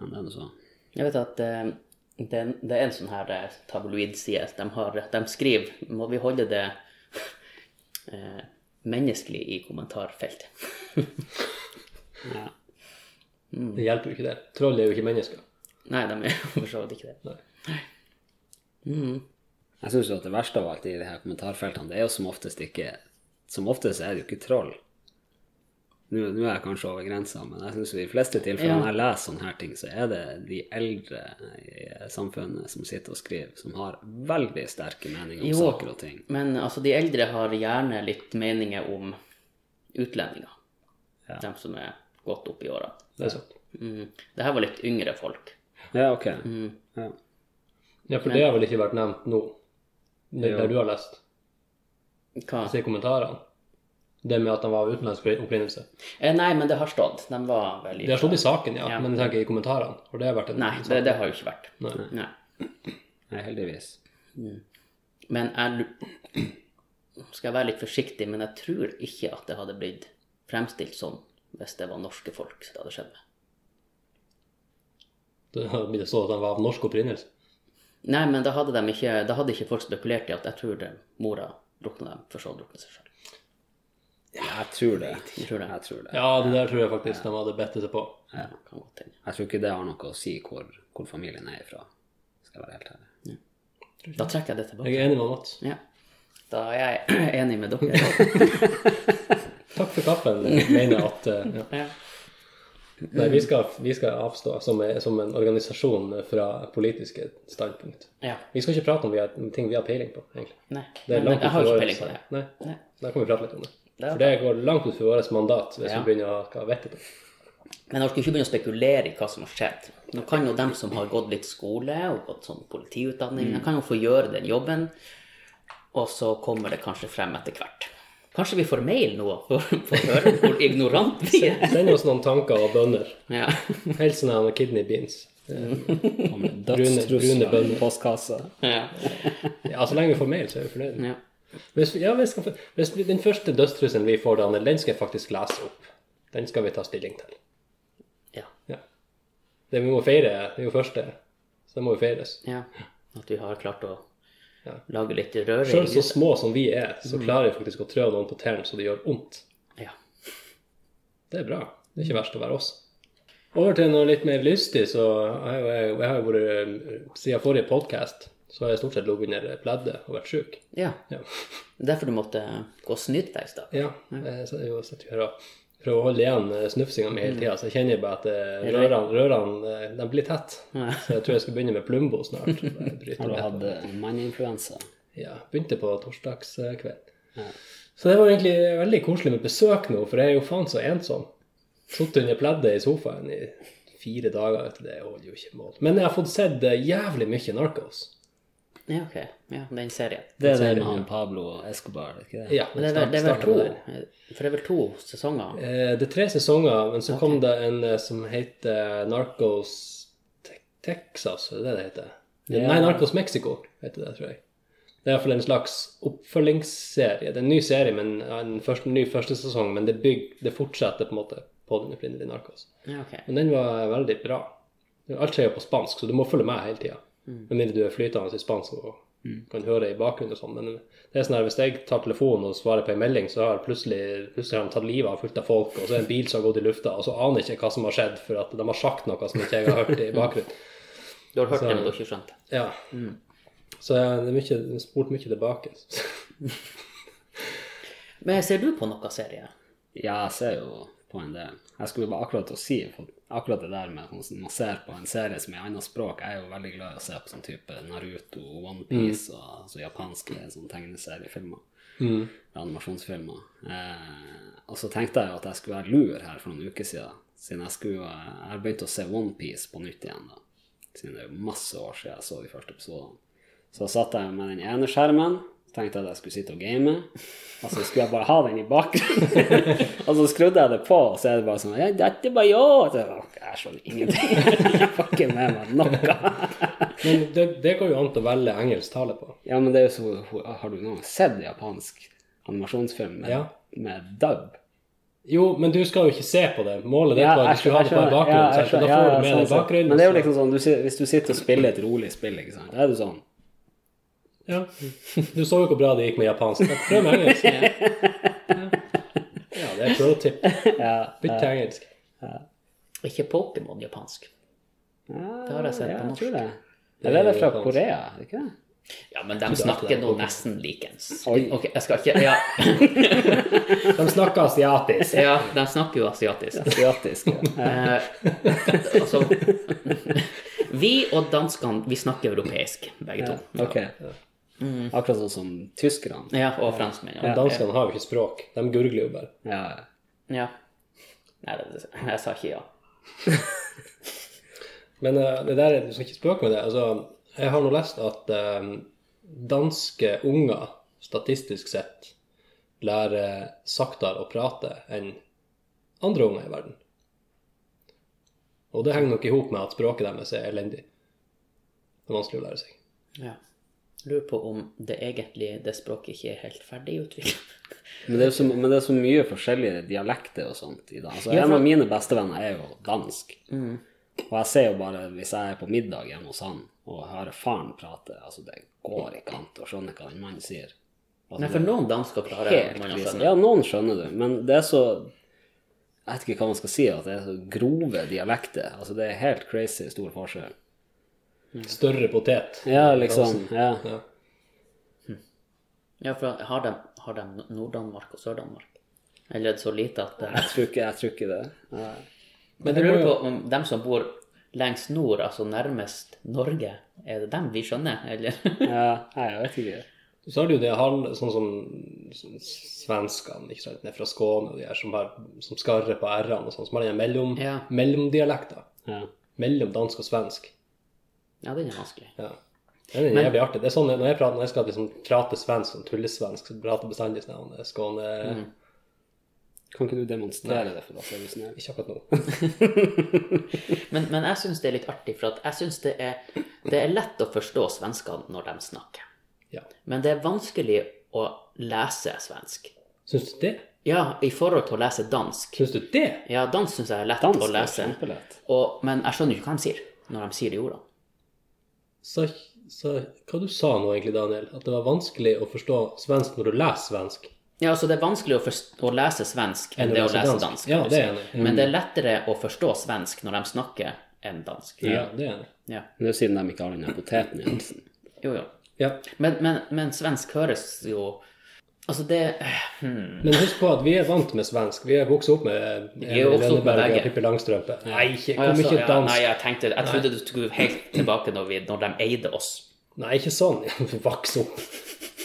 Men det er noe så.
jeg vet at eh, det, er- det er en sånn her eh, tabloidside. De, har, de skriver Må vi holde det <laughs> eh, menneskelig i kommentarfelt? <laughs>
Ja.
Det hjelper jo ikke det. Troll er jo ikke mennesker.
Nei, de er <laughs> for så vidt ikke det.
Nei.
Mm.
Jeg syns jo at det verste av alt i de her kommentarfeltene, det er jo som oftest ikke Som oftest er det jo ikke troll. Nå, nå er jeg kanskje over grensa, men jeg syns i de fleste tilfellene
Ja.
jeg leser sånne her ting, så er det de eldre i samfunnet som sitter og skriver, som har veldig sterke meninger om
Jo.
saker og ting.
Men altså, de eldre har gjerne litt meninger om utlendinger.
Ja.
De som er godt opp i åra.
Det er sant.
Mm. Det her var litt yngre folk. Mm.
Ja, ok. Ja.
Ja, for det har vel ikke vært nevnt nå, det
Jo.
der du har lest.
Hva?
Se kommentarene. Det med at de var av utenlandsk opprinnelse.
Eh, nei, men det har stått. De var vel
Det har stått i saken, ja,
Ja.
men jeg tenker i kommentarene. For det har vært en
Nei, det, det har jo ikke vært.
Nei.
Nei.
Nei, heldigvis.
Men jeg lu- <clears throat> skal jeg være litt forsiktig, men jeg tror ikke at det hadde blitt fremstilt sånn hvis det var norske folk det hadde skjedd med.
Det har blitt stått at de var av norsk opprinnelse.
Nei, men da hadde, de ikke, da hadde ikke folk spekulert i at jeg tror det, mora drukna dem, for så å drukne seg sjøl.
Jeg tror det. Jeg
tror det.
tror det.
Ja, det der tror jeg faktisk de hadde bedt seg på.
Kan godt hende.
Jeg tror ikke det har noe å si hvor, hvor familien er ifra, skal jeg være helt ærlig.
Da trekker jeg det tilbake.
Jeg er enig med Mats.
Ja. Da er jeg <clears throat> enig
<laughs>
med dere.
Takk for kaffen. Jeg mener at eh, ja.
Ja.
Nei, vi skal, vi skal avstå som, eh, som en organisasjon fra politiske standpunkt.
ja.
Vi skal ikke prate om vi har, ting vi har peiling på, egentlig.
Nei.
Det er
Men
langt
jeg har jo
utenfor
ikke peiling på
vår-
det.
Nei.
Nei.
Da kan vi prate litt om det.
Det er
For det går langt utenfor vårt mandat hvis
Ja.
vi begynner å ha vettet om.
Men jeg orker ikke begynne å spekulere i hva som har skjedd. Nå kan jo dem som har gått litt skole og gått sånn politiutdanning,
Mm.
de kan jo få gjøre den jobben. Og så kommer det kanskje frem etter hvert. Kanskje vi får mail nå <laughs> for for å høre hvor ignorant vi er.
<laughs> Send oss noen tanker og bønner.
Ja.
Helst sånne her kidney beans.
Kommer det
Brune- brune
Dødstrusler
bønder.
i postkassa.
Ja.
Ja, Så lenge vi får mail, så er vi fornøyd.
ja.
Hvis, ja, vi skal, hvis vi, den første dødstrusselen vi får, Daniel, den skal jeg faktisk lese opp. Den skal vi ta stilling til.
ja.
Ja. Det vi må feire, det er jo første, så det må jo feires.
ja. At vi har klart å
Ja.
lage litt røre i
Selv så små som vi er, så klarer vi faktisk å trø noen på tærne så det gjør vondt.
Ja.
Det er bra. Det er ikke verst å være oss. Over til noe litt mer lystig, så har jeg, jeg, jeg har jo vært Siden forrige podkast så har jeg stort sett ligget under pleddet og vært sjuk.
ja.
Ja.
Derfor du måtte gå og snyte deg i stad.
ja. Jeg sitter jo- sitter jo her og prøver å holde igjen eh, snufsinga mi
Mm.
hele tida, så jeg kjenner jeg bare at eh, rørene, rørene eh, de blir tett. Så jeg tror jeg skal begynne med Plumbo
<laughs>
snart. for jeg bryter
Har du
ned.
hatt eh, manninfluensa?
Ja, begynte på torsdagskveld. Så det var egentlig veldig koselig med besøk nå, for jeg er jo faen så ensom. Sittet under pleddet i sofaen i fire dager etter det, jeg holder jo ikke mål. Men jeg har fått sett eh, jævlig mye Narcos.
Ja, ok. Ja, den serien.
Det er
Serien,
den med han
ja.
Pablo Escobar, er det ikke det?
Ja,
Men det er, vel- det er vel
starter med den.
to For det er vel to sesonger?
Eh, Det er tre sesonger, men så kom det en eh, som heter Narcos Te Texas, er det det det heter?
Ja.
Nei, Narcos Mexico heter det, tror jeg. Det er iallfall en slags oppfølgingsserie. Det er en ny serie, men ja, en, første, ny første sesong, men det, bygg, det fortsetter på en måte på den opprinnelige Narcos.
Ja, ok.
Men den var veldig bra. Alt skjer jo på spansk, så du må følge med hele tida.
Mm.
Med mindre du er flytende i spansk og kan høre i bakgrunnen og sånn. Men det er sånn her, hvis jeg tar telefonen og svarer på en melding, så har plutselig, plutselig har de tatt livet av fullt av folk, og så er det en bil som har gått i lufta, og så aner jeg ikke hva som har skjedd, for at de har sagt noe som ikke jeg har hørt i bakgrunnen.
Du har hørt
Så-
det, men du har ikke skjønt det?
Ja.
Mm.
Så det er mye, det er spurt mye
<laughs>
tilbake.
Men ser du på noen serie?
Ja, jeg ser jo på en del. Jeg skulle bare akkurat til å si for akkurat det der med hvordan man ser på en serie som er i annet språk. Jeg er jo veldig glad i å se på sånn type Naruto, Onepiece og altså, japanske sånn tegneseriefilmer.
Mm.
Animasjonsfilmer. Eh, og så tenkte jeg jo at jeg skulle være lur her for noen uker siden. Siden jeg skulle eh, Jeg har begynt å se Onepiece på nytt igjen, da. Siden det er jo masse år siden jeg så de første episodene. Så satt jeg med den ene skjermen. Tenkte at jeg skulle sitte og game. Og så skulle jeg bare ha den i bakgrunnen. <laughs> Og så skrudde jeg det på, og så er det bare sånn «Ja, Dette var jo Så jeg bare, Jeg skjønner ingenting. <laughs> Jeg får ikke med meg noe. <laughs>
Men det, det går jo an til å velge engelsk tale på.
Ja, men det er jo så Har du noen gang sett japansk animasjonsfilm med,
Ja.
med dub?
Jo, men du skal jo ikke se på det. Målet ditt
Ja,
var at du skulle ha det på en
skjønner.
bakgrunn.
Ja, jeg
sant? Og da får
skjønner. Ja,
du med
ja,
deg
sånn, sånn.
bakgrunnen.
Men det er jo liksom sånn, du, sit- hvis du sitter og spiller et rolig spill, ikke sant, da er du sånn
Ja. Du så jo hvor bra det gikk med japansk. Ja, Prøv med engelsk. Ja,
<laughs>
det er pro tip.
ja,
Bytt til engelsk.
Ikke Pokémon japansk.
Det
har jeg sett på
ja,
norsk.
Jeg tror det. Eller er det fra
Det er jo
Korea, er det ikke det?
Ja, men de snakker
det er
nå
Pokémon.
nesten likens.
Oi.
Ok, jeg skal ikke Ja,
De snakker asiatisk.
ja de snakker jo asiatisk.
Asiatisk. Ja.
Eh, altså Vi og danskene, vi snakker europeisk, begge to.
Ok. Akkurat sånn som tyskerne.
Ja, og franskmenn. Ja.
Danskene har jo ikke språk. De gurgler jo bare.
Ja.
ja. Nei, det- jeg sa ikke ja.
Men eh, det der, du skal ikke spøke med det. Altså, jeg har nå lest at eh, danske unger statistisk sett lærer saktere å prate enn andre unger i verden. Og det henger nok i hop med at språket deres er elendig. Det er vanskelig å lære seg.
ja. Lurer på om det egentlig det språket ikke er helt ferdig utvikla.
Men, det er jo så, men det er så mye forskjellige dialekter og sånt i dag. Altså, en av mine bestevenner er jo dansk. Og jeg ser jo bare, hvis jeg er på middag hjemme hos han og hører faren prate, altså det går ikke an å skjønne hva den mannen sier. Altså,
Nei,
det-
for noen dansker klarer
Helt
man å
krise.
skjønne.
Ja, noen skjønner du, men det er så Jeg vet ikke hva man skal si, at det er så grove dialekter. Altså, det er helt crazy stor forskjell.
Større potet.
Ja, liksom. Ja.
Ja.
Ja, for har de, har de Nord-Danmark og Sør-Danmark? Eller er det så lite at eh,
Jeg tror ikke, jeg tror ikke det. Ja.
Men jeg lurer på om dem som bor lengst nord, altså nærmest Norge, er det dem vi skjønner, eller? <laughs>
Ja, nei, jeg vet ikke.
Så har du jo det halv, sånn som sånn svenskene ikke sant, ned fra Skåne og de her som, har, som skarrer på r-ene og sånn, som har den mellom,
Ja.
mellomdialekta.
Ja.
Mellom dansk og svensk.
Ja, den er vanskelig.
Ja. Det er
Men-
jævlig artig. Det er sånn, når jeg, prater, når jeg skal liksom prate svensk, sånn tullesvensk, så prater jeg bestandig sånn om det er Skåne
Kan ikke du demonstrere det for oss? Er du snill?
Ikke akkurat nå.
Men, men jeg syns det er litt artig, for at jeg syns det, er- det er lett å forstå svenskene når de snakker.
Ja.
Men det er vanskelig å lese svensk.
Syns du det?
Ja, i forhold til å lese dansk.
Syns du det?
Ja, dansk syns jeg er lett
Dansk
å
er
lese,
kjempelett.
og, men jeg skjønner jo ikke hva de sier når de sier de ordene.
Så, så, hva du sa nå egentlig, Daniel? At det var vanskelig å forstå svensk når du leser svensk?
Ja, altså det er vanskelig å, forst- å lese svensk enn det å lese dansk.
Ja,
kan du
det
si.
er jeg enig Mm. i.
Men det er lettere å forstå svensk når de snakker, enn dansk.
Ja, det er jeg enig. i.
Ja.
Men det er siden de ikke har den der poteten i halsen.
Jo, jo.
Ja.
Men, men, men svensk høres jo Altså, det hmm.
Men husk på at vi er vant med svensk. Vi er vokst opp med
er
Emil
jo vokst opp med
Lønneberg og
begge.
Pippi Langstrømpe. Nei, ikke,
Å, ja,
hvor
så-
mye
ja, Nei,
dansk
jeg tenkte Jeg trodde du skulle helt tilbake når, vi, når de eide oss.
Nei, ikke sånn. <laughs> Vaks opp.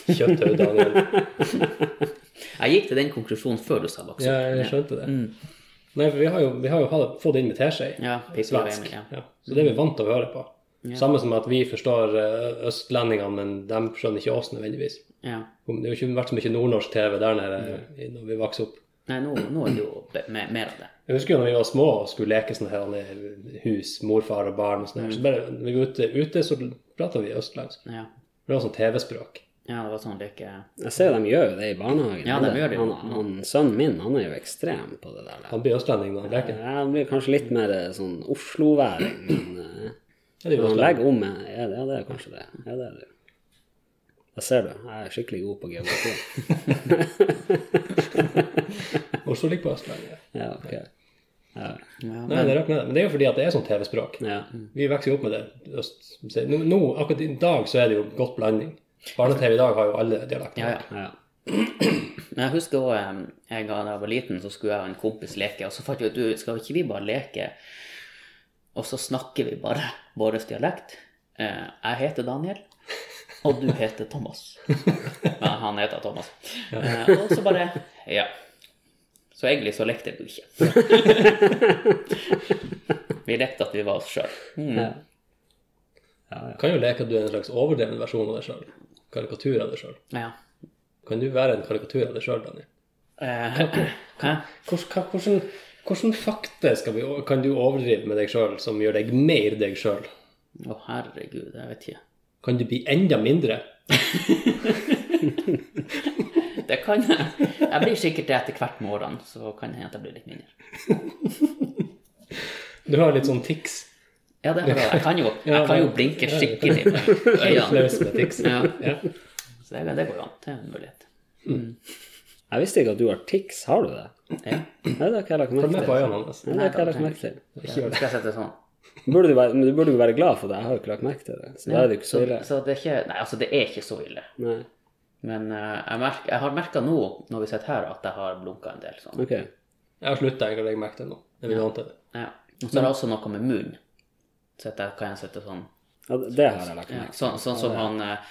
Kjøtthøy, Daniel.
Jeg gikk til den konklusjonen før du sa voksen.
Ja, jeg skjønte det. Nei, for vi har jo, vi har jo hatt- fått det inn med teskje.
Mm. Ja, Pippi og
Svensk.
Emil, ja.
Ja. Så det er vi vant til å høre på.
Ja.
Samme som at vi forstår eh, østlendingene, men de skjønner ikke oss nødvendigvis.
Ja.
Om- Det har jo ikke vært så mye nordnorsk TV der nede i- når vi vokste opp.
Nei, nå, nå er det jo be- me- mer av det.
Jeg husker jo når vi var små og skulle leke sånne her eh, hus, morfar og barn og sånn.
Mm.
her, Så bare når vi var ute, ute så prata vi østlandsk.
Ja.
Det var sånn TV-språk.
ja, det var sånn leke
Jeg ser de gjør jo det i barnehagen.
Ja, de gjør det jo.
Han, han, sønnen min han er jo ekstrem på det der.
Han blir østlending når han leker.
Ja, han blir kanskje litt mer eh, sånn Oslo-væring, men eh,
Ja, det er
når
jo
han
østlending.
legger om eh, Ja, det ja, det er kanskje det. Ja, det er det. Jeg ser det. Jeg er skikkelig god på geografi.
Oslo ligger på Østlandet.
Ja, ok. Ja,
ja,
Nei, det er rart med det. Men det er jo fordi at det er sånn TV-språk.
ja.
Vi vokser jo opp med det. Øst, nå, nå, akkurat i dag så er det jo godt blanding. Barne-TV i dag har jo alle dialekter.
ja, ja.
ja.
Men jeg husker også, eh, jeg, da jeg var liten, så skulle jeg og en kompis leke, og så fant jeg ut, du, skal ikke vi bare leke? Og så snakker vi bare vår dialekt. Eh, Jeg heter Daniel, og du heter Thomas. Ja, han heter Thomas. Eh, Og så bare, ja. Så egentlig så lekte vi ikke. Vi lekte at vi var oss sjøl.
ja.
Kan jo leke at du er en slags overdreven versjon av deg sjøl. Karikatur av deg sjøl.
Ja.
Kan du være en karikatur av deg sjøl, Daniel?
Eh, Hæ?
Hvordan, hva- hvordan, hvordan fakta skal vi, kan du overdrive med deg sjøl som gjør deg mer deg sjøl?
Å, herregud, jeg vet ikke.
Kan du bli enda mindre?
Det kan jeg. Jeg blir sikkert det etter hvert med årene, så kan det hende at jeg blir litt mindre.
Du har litt sånn tics.
Ja, det har jeg. Jeg kan jo, jeg kan jo blinke skikkelig med øynene.
Flaus med tics.
<laughs> Ja.
Ja.
Så det, det går jo an. Det er en mulighet.
Jeg visste ikke at du har tics. Har du det?
Ja.
Nei, det har ikke jeg lagt
Følg
merke
med
til.
på øynene hans.
Nei, det har ikke jeg lagt merke til.
Ikke gjør det. Skal jeg sette det sånn?
Burde du, være, men du burde jo være glad for det. Jeg har jo ikke lagt merke til det. Så da er det jo ikke så ille.
Så det er ikke, nei, altså det er ikke så ille.
Nei.
Men eh, jeg, merk, jeg har merka nå, når vi sitter her, at jeg har blunka en del. sånn.
Ok.
Jeg har slutta å legge merke til det nå. Jeg blir vant til det.
Ja. Og så er det også noe med munnen. Så at jeg kan sitte sånn.
Ja, det har jeg lagt
Ja,
merke til.
sånn, sånn som han eh,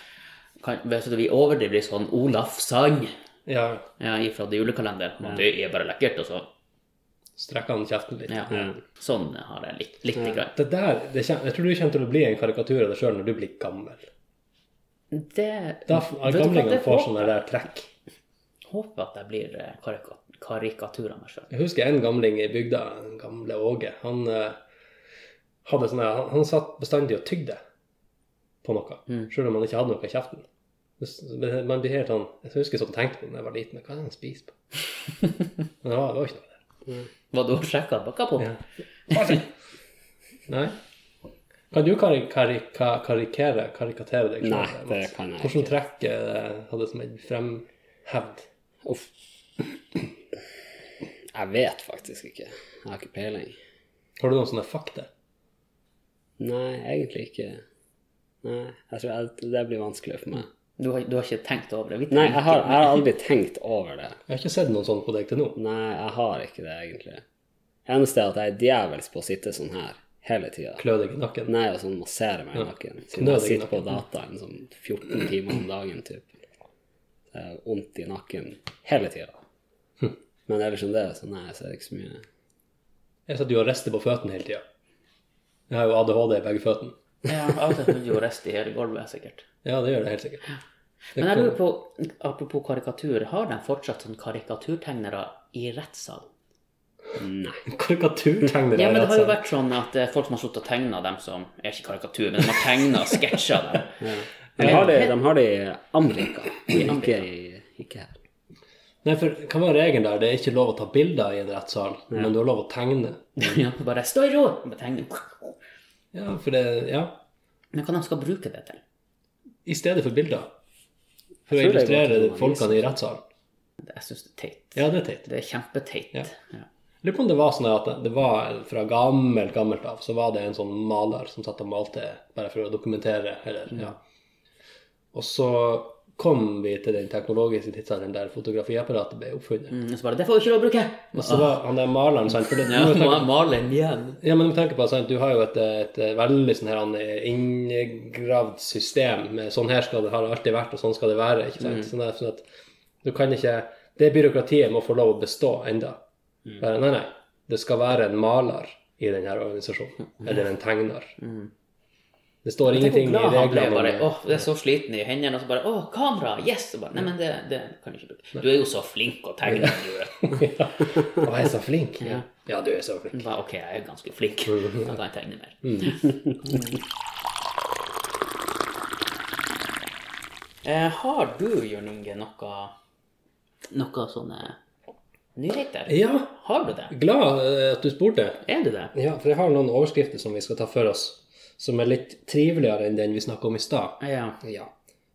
kan, vet du, Vi overdriver litt sånn Olaf Sand
Ja,
ja, fra julekalenderen. Og Det er bare lekkert, altså. og så
strekker han kjeften litt.
ja. Sånn har jeg litt, lite grann.
Det der, det kjem, jeg tror du kommer til å bli en karikatur av deg sjøl når du blir gammel.
Det
Da
Vet du hva,
Gamlingene
det
får sånne der trekk.
håper at jeg blir eh, karika karikatur av meg sjøl.
Jeg husker en gamling i bygda, en gamle Åge. Han, eh, hadde sånne, han, han satt bestandig og tygde på noe,
Mm.
selv om han ikke hadde noe i kjeften. Det s- men Man blir helt sånn, Jeg husker jeg satt og tenkte på det da jeg var liten, men hva er det han spiser på?
<laughs>
Men det var, det var ikke noe der.
Var du og sjekka bakka på?
Ja. Nei. Kan du kari kari ka karikere, karikatere deg selv,
Nei,
Mats?
det kan jeg ikke.
Hvordan trekk eh, hadde som en fremhevd?
Uff. Jeg vet faktisk ikke. Jeg har ikke peiling.
Har du noen sånne fakta?
Nei, egentlig ikke. Nei, jeg tror jeg, det blir vanskelig for meg.
Du, har, du har ikke tenkt over det? Vi
Nei,
tenker-
jeg har, jeg har aldri tenkt over det.
Jeg har ikke sett noen sånne på deg til nå.
Nei, jeg har ikke det, egentlig. Eneste er at jeg er djevelsk på å sitte sånn her hele tida.
Klø deg i nakken.
Nei, og sånn massere meg i nakken. Siden
Knø
jeg
deg i
sitter på
nakken.
dataen sånn 14 timer om dagen, typ. Så jeg har vondt i nakken hele tida.
Hm.
Men ellers enn det, så nei, så er det ikke så mye.
Jeg satt jo og rister på føttene hele tida. Jeg har jo ADHD i begge føttene.
Ja, av og til vil du jo riste i hele gulvet, sikkert.
Ja, det gjør det helt sikkert. <laughs>
Men jeg lurer på, apropos karikatur, har de fortsatt sånn karikaturtegnere i rettssalen?
Nei.
Karikaturtegnere.
Ja, men det har jo
altså.
vært sånn at eh, folk som har sluttet å tegne dem som er ikke karikatur, men de har tegna og sketsja dem. <laughs>
De har det, de har det i Amerika, ikke, i, ikke her.
Nei, for hva var regelen der? Det er ikke lov å ta bilder i en rettssal, men du har lov å tegne.
Ja, bare 'stå i ro!' med tegning.
Ja, for det Ja.
Men hva de skal bruke det til?
I stedet for bilder. For å
Jeg tror det er
illustrere
godt å
folkene i rettssalen.
Det- Jeg syns det er teit.
Ja, det er teit.
Det er kjempeteit.
Ja.
Ja.
Lurer på om det var sånn at det var fra gammelt, gammelt av, så var det en sånn maler som satt og malte bare for å dokumentere, eller
Mm.
ja. Og så kom vi til den teknologiske tidsalderen der fotografiapparatet ble oppfunnet.
Mm, og så bare 'Det får du ikke lov å bruke!'
Og så var han der maleren, sant, for det,
<laughs> Ja,
nå tenker-
Malin igjen.
Ja, men du tenker på sant? Du har jo et, et veldig sånn her han, inngravd system med sånn her skal det, har det alltid vært, og sånn skal det være. ikke
Mm.
sant? Sånn, at- sånn at du kan ikke, Det byråkratiet må få lov å bestå enda.
Mm.
Bare, nei, nei.
Mm.
Det skal være en maler i denne organisasjonen. Eller en tegner. Det står
Tenk hvor
ingenting i
glad han ble.
reglene.
Bare, <laughs>
om-
åh, det er så sliten i hendene. Og så bare åh, kamera! Yes! Og bare, Nei, men det, det kan du ikke bruke. Du er jo så flink å tegne. du er».
ja. Å, jeg er så flink.
Ja.
Ja, du er så flink.
Bare, Ok, jeg er ganske
<laughs>
flink. Da kan jeg tegne mer.
Mm.
<laughs> Eh, har du, Jørn Unge, noe, noe sånne nyheter?
Ja,
Har du det?
glad eh, at du spurte.
Er du det?
Ja, for jeg har noen overskrifter som vi skal ta for oss, som er litt triveligere enn den vi snakka om i stad.
Ja.
Ja.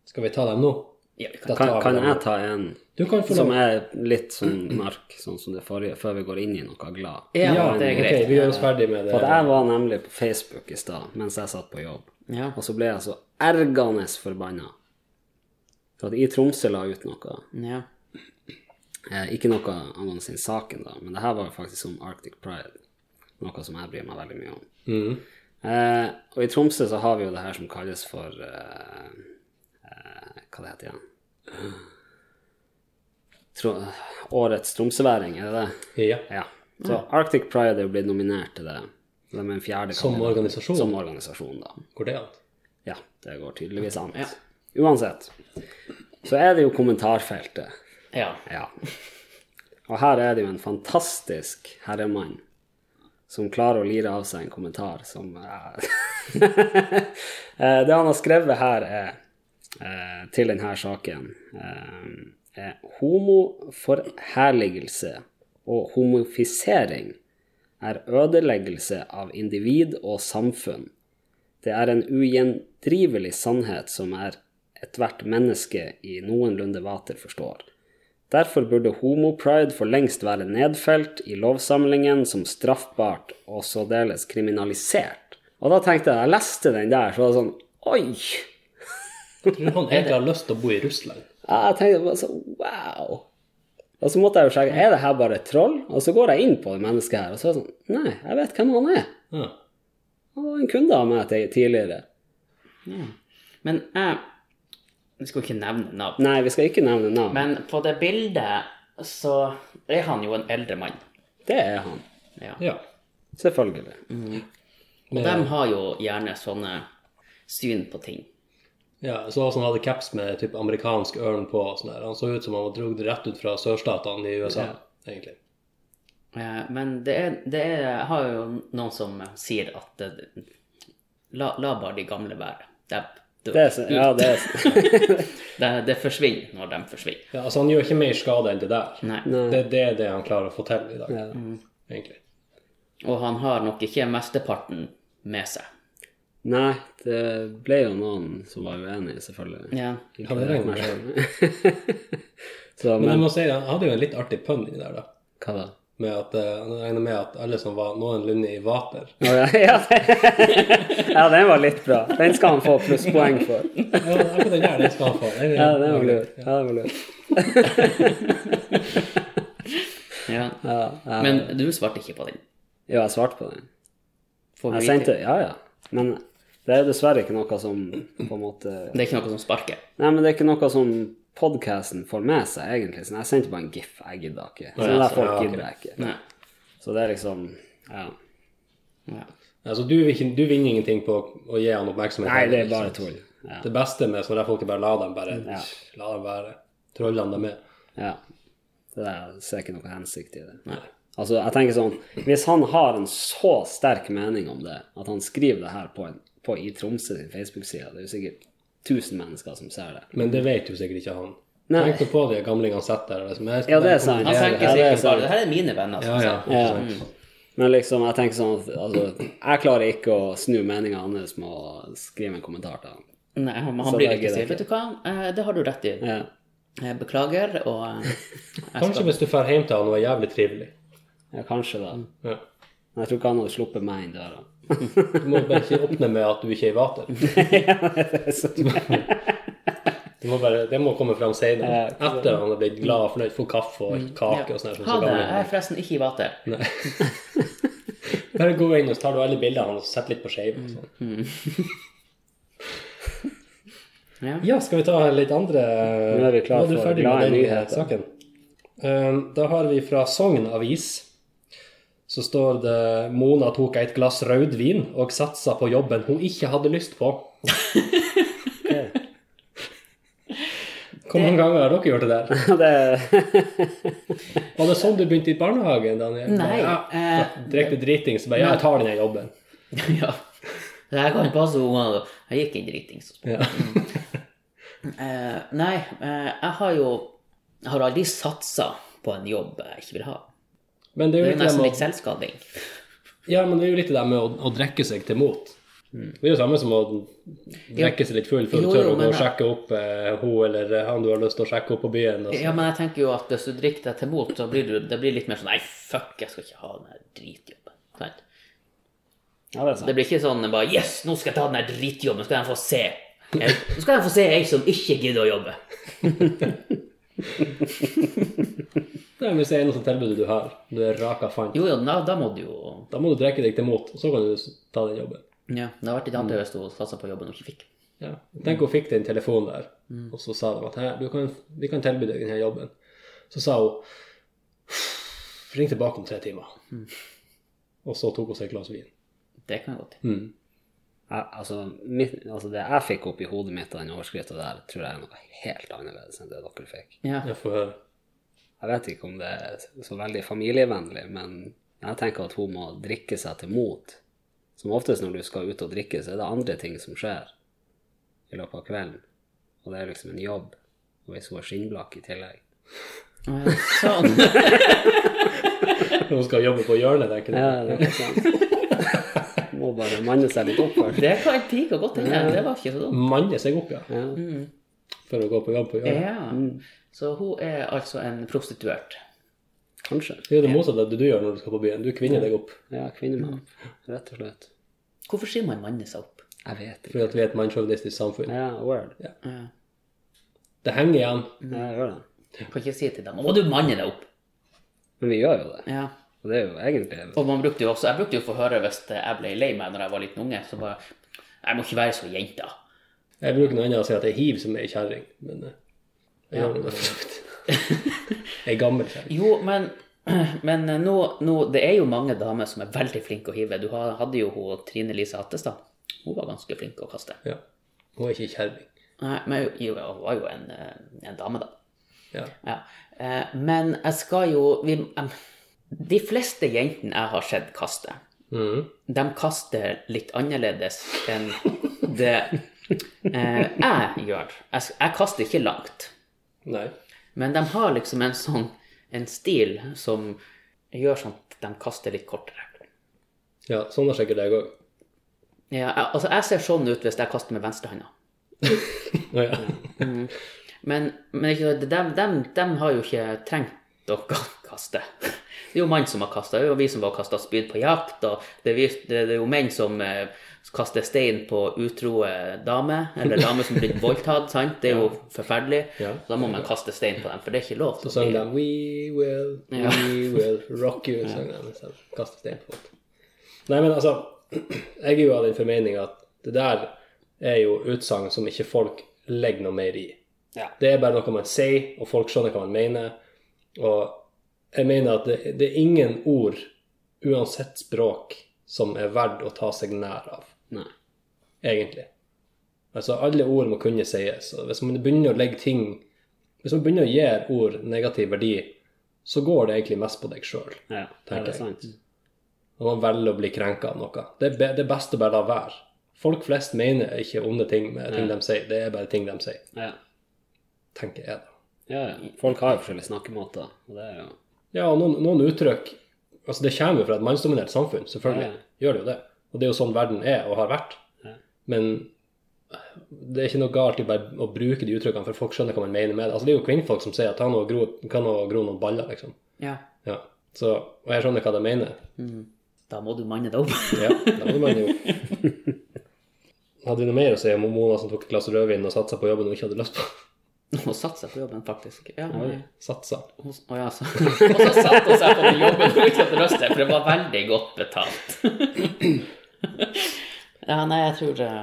Skal vi ta dem nå?
ja vi kan.
Da
Kan,
tar vi
kan
dem
jeg
nå.
ta en
Du kan få
som
lov.
er litt sånn mørk, sånn som det forrige, før vi går inn i noe glad?
Ja,
Ja,
det er
ok,
greit.
vi gjør oss ferdig med
For
det.
jeg var nemlig på Facebook i stad mens jeg satt på jobb,
Ja.
og så ble jeg så ergende forbanna. For at i Tromsø la ut noe.
ja.
Eh, ikke noe angående sin saken, da, men det her var jo faktisk om Arctic Pride. Noe som jeg bryr meg veldig mye om.
Mm.
Eh, og i Tromsø så har vi jo det her som kalles for eh, eh, Hva det heter det igjen? Tro, årets tromsøværing, er det det?
Ja.
Ja. Så Arctic Pride er jo blitt nominert til det. De er en fjerde
Som
kandidat.
organisasjon?
Som organisasjon, da.
Går det an?
Ja, det går tydeligvis an.
Ja.
Uansett, så er det jo kommentarfeltet.
ja.
Ja. Og her er det jo en fantastisk herremann som klarer å lire av seg en kommentar som eh, <laughs> Eh, Det han har skrevet her, er eh, til denne saken eh, er Homoforherligelse og homofisering er ødeleggelse av individ og samfunn. Det er en ugjendrivelig sannhet som er ethvert menneske i noenlunde vater forstår. Derfor burde homopride for lengst være nedfelt i lovsamlingen som straffbart og sådeles kriminalisert. Og da tenkte jeg, jeg leste den der, så var det sånn Oi!
Tror du han egentlig har lyst til å bo i Russland?
Ja, jeg tenkte bare så, wow. Og så måtte jeg jo sjekke, er det her bare et troll? Og så går jeg inn på det mennesket her, og så er det sånn, nei, jeg vet hvem han er.
Ja.
Han var en kunde av meg til- tidligere.
Men jeg Jeg skal ikke nevne navn.
Nei, vi skal ikke nevne navn.
Men på det bildet så er han jo en eldre mann.
Det er han.
Ja.
ja.
Selvfølgelig.
Og de har jo gjerne sånne syn på ting.
ja så også han hadde caps med typ amerikansk ørn på. og sånn der. Han så ut som han dro det rett ut fra sørstatene i USA, egentlig.
Eh, Men det er, det er jeg har jo noen som sier at det, la, la bare de gamle være. Det, det,
Det er, så- <laughs> ja, det er,
det, det forsvinner når de forsvinner.
Ja, altså Han gjør ikke mer skade enn det der.
Nei.
Det, det er det han klarer å få til i dag,
ja.
egentlig.
Og han har nok ikke mesteparten med seg.
Nei, det ble jo noen som var uenige, selvfølgelig.
Ja.
Ja, det regner jeg
<laughs> Så,
Men jeg
men,
må si, han hadde jo en litt artig pønn i det der, da.
hva da?
Med at, eh, han regner med at alle som var noenlunde i vater
Å, Ja, <laughs> ja, det- ja, den var litt bra. Den skal han få plusspoeng for.
Ja, akkurat den der, den skal han få. Den er-
Ja, den var lur. Ja, den var lur.
ja.
Ja, ja.
Men du svarte ikke på den.
Jo, jeg svarte på den.
Får
Jeg
vi
sendte,
vite.
ja, ja. Men det er jo dessverre ikke noe som på en måte
Det er ikke noe som sparker.
Nei, men det er ikke noe som podcasten får med seg, egentlig. Så jeg sendte bare en gif. Jeg gidder ikke. Så det
ja,
der folk
ja, ok.
gidder jeg ikke.
Nei.
Så det er liksom Ja.
Ja.
Altså, du, vil ikke- du vinner ingenting på å gi han oppmerksomhet.
Nei, det er bare tull. Ja.
Det beste med sånne der folk er bare la dem bare
Ja.
La dem være. Trollene dem med.
ja. Det der jeg ser ikke noe hensikt i det.
Nei.
Altså, jeg tenker sånn Hvis han har en så sterk mening om det, at han skriver det her på, en, på i Tromsø sin Facebook-side, det er jo sikkert 1000 mennesker som ser det.
Men det vet jo sikkert ikke han.
Nei.
Tenk nå på de gamlingene sitter der. og liksom, jeg skal
Ja, det
bare
er sant.
Han tenker
Ja, det er
sikkert bare
sant.
Det her er mine venner. altså."
komme- Ja,
som
ja.
sier.
Ja. Men liksom, jeg tenker sånn at altså, jeg klarer ikke å snu meninga hans med å skrive en kommentar til han.
Nei, han,
Så
han blir
det
ikke
gidder
sikkert.
jeg
Vet du hva, Eh, det har du rett i.
Ja.
Jeg beklager, og eh, jeg
Kanskje
skal
hvis du drar hjem til han og er jævlig trivelig.
ja, kanskje da.
Ja.
Men jeg tror ikke han hadde sluppet meg inn døra. <laughs>
Du må bare ikke åpne med at du ikke er i vater.
<laughs>
Du må bare, det må komme fram
Eh,
senere. Etter han har blitt glad og fornøyd, fått kaffe
Mm.
og kake og sånn. her, som
Ha
så
det.
gamlingen
Jeg er forresten ikke i vater.
Bare gå inn og så tar du alle bildene hans og setter litt på skeiva.
Mm.
og sånn.
Ja. <laughs>
Ja, skal vi ta litt andre
Nå er vi klar
Var du
for
ferdig med
glade
den Ehm,
nyheter.
saken? Um, Da har vi fra Sogn Avis, så står det Mona tok et glass rødvin og satsa på jobben hun ikke hadde lyst
<laughs>
på. Hvor mange ganger har dere gjort det der?
det,
Var det sånn du begynte i barnehagen? Daniel?
Nei,
Ja,
eh,
direkte driting, så bare ja, jeg tar denne jobben.
ja. Det her kan passe ungene. da. Jeg gikk inn dritings.
Ja.
Mm. Eh, nei, eh, jeg har jo jeg har aldri satsa på en jobb jeg ikke vil ha.
Men det
Det
er
er
jo
jo
litt det
nesten
med,
litt selvskading.
å- ja, men det er jo litt det der med å, å drikke seg til mot. Det er jo samme som å drikke seg litt full for
Mm. Jo,
å tørre
jo,
å gå
men
og
jeg-
sjekke opp eh, hun eller han du har lyst til å sjekke opp på byen. Altså.
Ja, men jeg tenker jo at hvis du drikker deg til mot, så blir du, det blir litt mer sånn Nei, fuck, jeg skal ikke ha den her dritjobben. Sant?
ja, det er
Det
sant.
blir ikke sånn bare Yes, nå skal jeg ta den her dritjobben, nå skal jeg få se. Jeg, nå skal jeg få se ei som ikke gidder å jobbe.
Nei, men Hvis det er noe sånt tilbud du har, du er raka fant,
Jo, jo, da, da må du jo
da må du drikke deg til mot, og så kan du s- ta den jobben.
Ja, det hadde vært litt annerledes hvis du satsa på jobben og ikke fikk.
Ja. Tenk hun fikk den telefonen der, og så sa de at «Hæ, du kan, vi kan tilby deg denne jobben. Så sa hun ring tilbake om tre timer. Og så tok hun seg et glass vin.
Det kan jeg godt.
Mm.
Jeg, altså, mitt, altså, det jeg fikk opp i hodet mitt av den overskriften der, tror jeg er noe helt annerledes enn det dere fikk.
Ja.
Jeg får høre. <laughs>
Jeg vet ikke om det er så veldig familievennlig, men jeg tenker at hun må drikke seg til mot. Som oftest når du skal ut og drikke, så er det andre ting som skjer i løpet av kvelden. Og det er liksom en jobb. Og hvis hun er skinnblakk i tillegg.
Eh, Sånn.
Hun skal jobbe på hjørnet, tenker jeg.
Ja, det er sant. <laughs> Må bare manne seg litt opp først.
Det kan jeg pike godt hende. Det var ikke så dumt.
Manne seg opp, ja.
Ja.
Mm.
For å gå på jobb på hjørnet.
Ja. Mm. Så hun er altså en prostituert.
Kanskje.
Det er det motsatte av det du gjør når du skal på byen. Du kvinner deg opp
Ja, kvinnemann. Rett og slett.
Hvorfor sier man 'manne seg opp'?
Mm. Jeg vet ikke.
fordi at vi er et mannssjåvinistisk samfunn.
Ja, word.
Ja.
Det henger igjen.
Ja, jeg gjør det.
Kan ikke si til dem 'Nå må du manne deg opp'.
Men vi gjør jo det.
Ja.
Og det er jo egentlig
Og man brukte jo også, jeg brukte jo å få høre hvis jeg ble lei meg når jeg var liten unge, så bare 'Jeg må ikke være så jenta'.
Jeg bruker noe annet å si at det er hiv som er ei kjerring, men eh, jeg gjør det for så vidt. <laughs> Ei gammel kjerring.
Jo, men, <clears throat> men eh, nå, nå Det er jo mange damer som er veldig flinke å hive. Du ha- hadde jo hun Trine Lise Hattestad. Hun var ganske flink å kaste.
Ja. Hun er ikke ei kjerring.
Nei, men hun hun var jo en, eh, en dame, da.
Ja.
Ja. Eh, Men jeg skal jo vi, em, De fleste jentene jeg har sett kaste,
Mhm.
de kaster litt annerledes enn det eh, jeg gjør. Jeg, s- jeg kaster ikke langt.
Nei.
Men de har liksom en sånn en stil som gjør sånn at de kaster litt kortere.
Ja, sånn har sikkert jeg òg.
Ja, jeg, altså jeg ser sånn ut hvis jeg kaster med venstrehånda.
Å ja.
Men, men ikke, de, har jo ikke trengt å <laughs> ka- kaste. Det er jo mann som har kasta. Det er jo vi som har kasta spyd på jakt. Og det, er vi, det er jo menn som eh, kaster stein på utroe damer, eller damer som blir voldtatt. <laughs> sant? Det er jo forferdelig.
Ja.
Da må man kaste stein på dem, for det er ikke lov.
Så sang de 'We will, we
Ja.
will rock
<laughs>
you'. Sang de, så de kastet stein på folk. Nei, men altså <clears throat> Jeg er jo av den formening at det der er jo utsagn som ikke folk legger noe mer i.
Ja.
Det er bare noe man sier, og folk skjønner hva man mener. Og jeg mener at det, det er ingen ord, uansett språk, som er verdt å ta seg nær av
Nei.
egentlig. Altså, alle ord må kunne sies. og Hvis man begynner å legge ting Hvis man begynner å gi ord negativ verdi, så går det egentlig mest på deg sjøl.
Ja, det
Tenker
er
jeg.
sant.
Når man velger å bli krenka av noe. Det er, be, det er best å bare la være. Folk flest mener ikke onde ting med ting de sier, det er bare ting de sier.
Ja.
Tenker jeg, da.
Ja, ja. Folk har jo forskjellige snakkemåter, og det er jo
Ja, og noen, noen uttrykk Altså, det kommer jo fra et mannsdominert samfunn, selvfølgelig.
Ja, ja.
Gjør det jo det. Og det er jo sånn verden er og har vært.
Ja.
Men eh, det er ikke noe galt i bare å bruke de uttrykkene, for folk skjønner hva man mener med det. Altså, det er jo kvinnfolk som sier at han og gro, kan nå gro noen baller, liksom.
Ja. Mm.
Ja. Så, og jeg skjønner hva de mener.
Da må du manne deg opp. <laughs>
Ja, det må man jo. Hadde vi noe mer å si om Mona som tok et glass rødvin og satsa på jobben hun ikke hadde lyst på?
Hun satte seg på jobben, faktisk. Ja,
Oi, Satsa.
Hun, å ja, så. Og så satte hun seg på den jobben hun ikke hadde lyst til, for det var veldig godt betalt. ja, nei, jeg tror eh,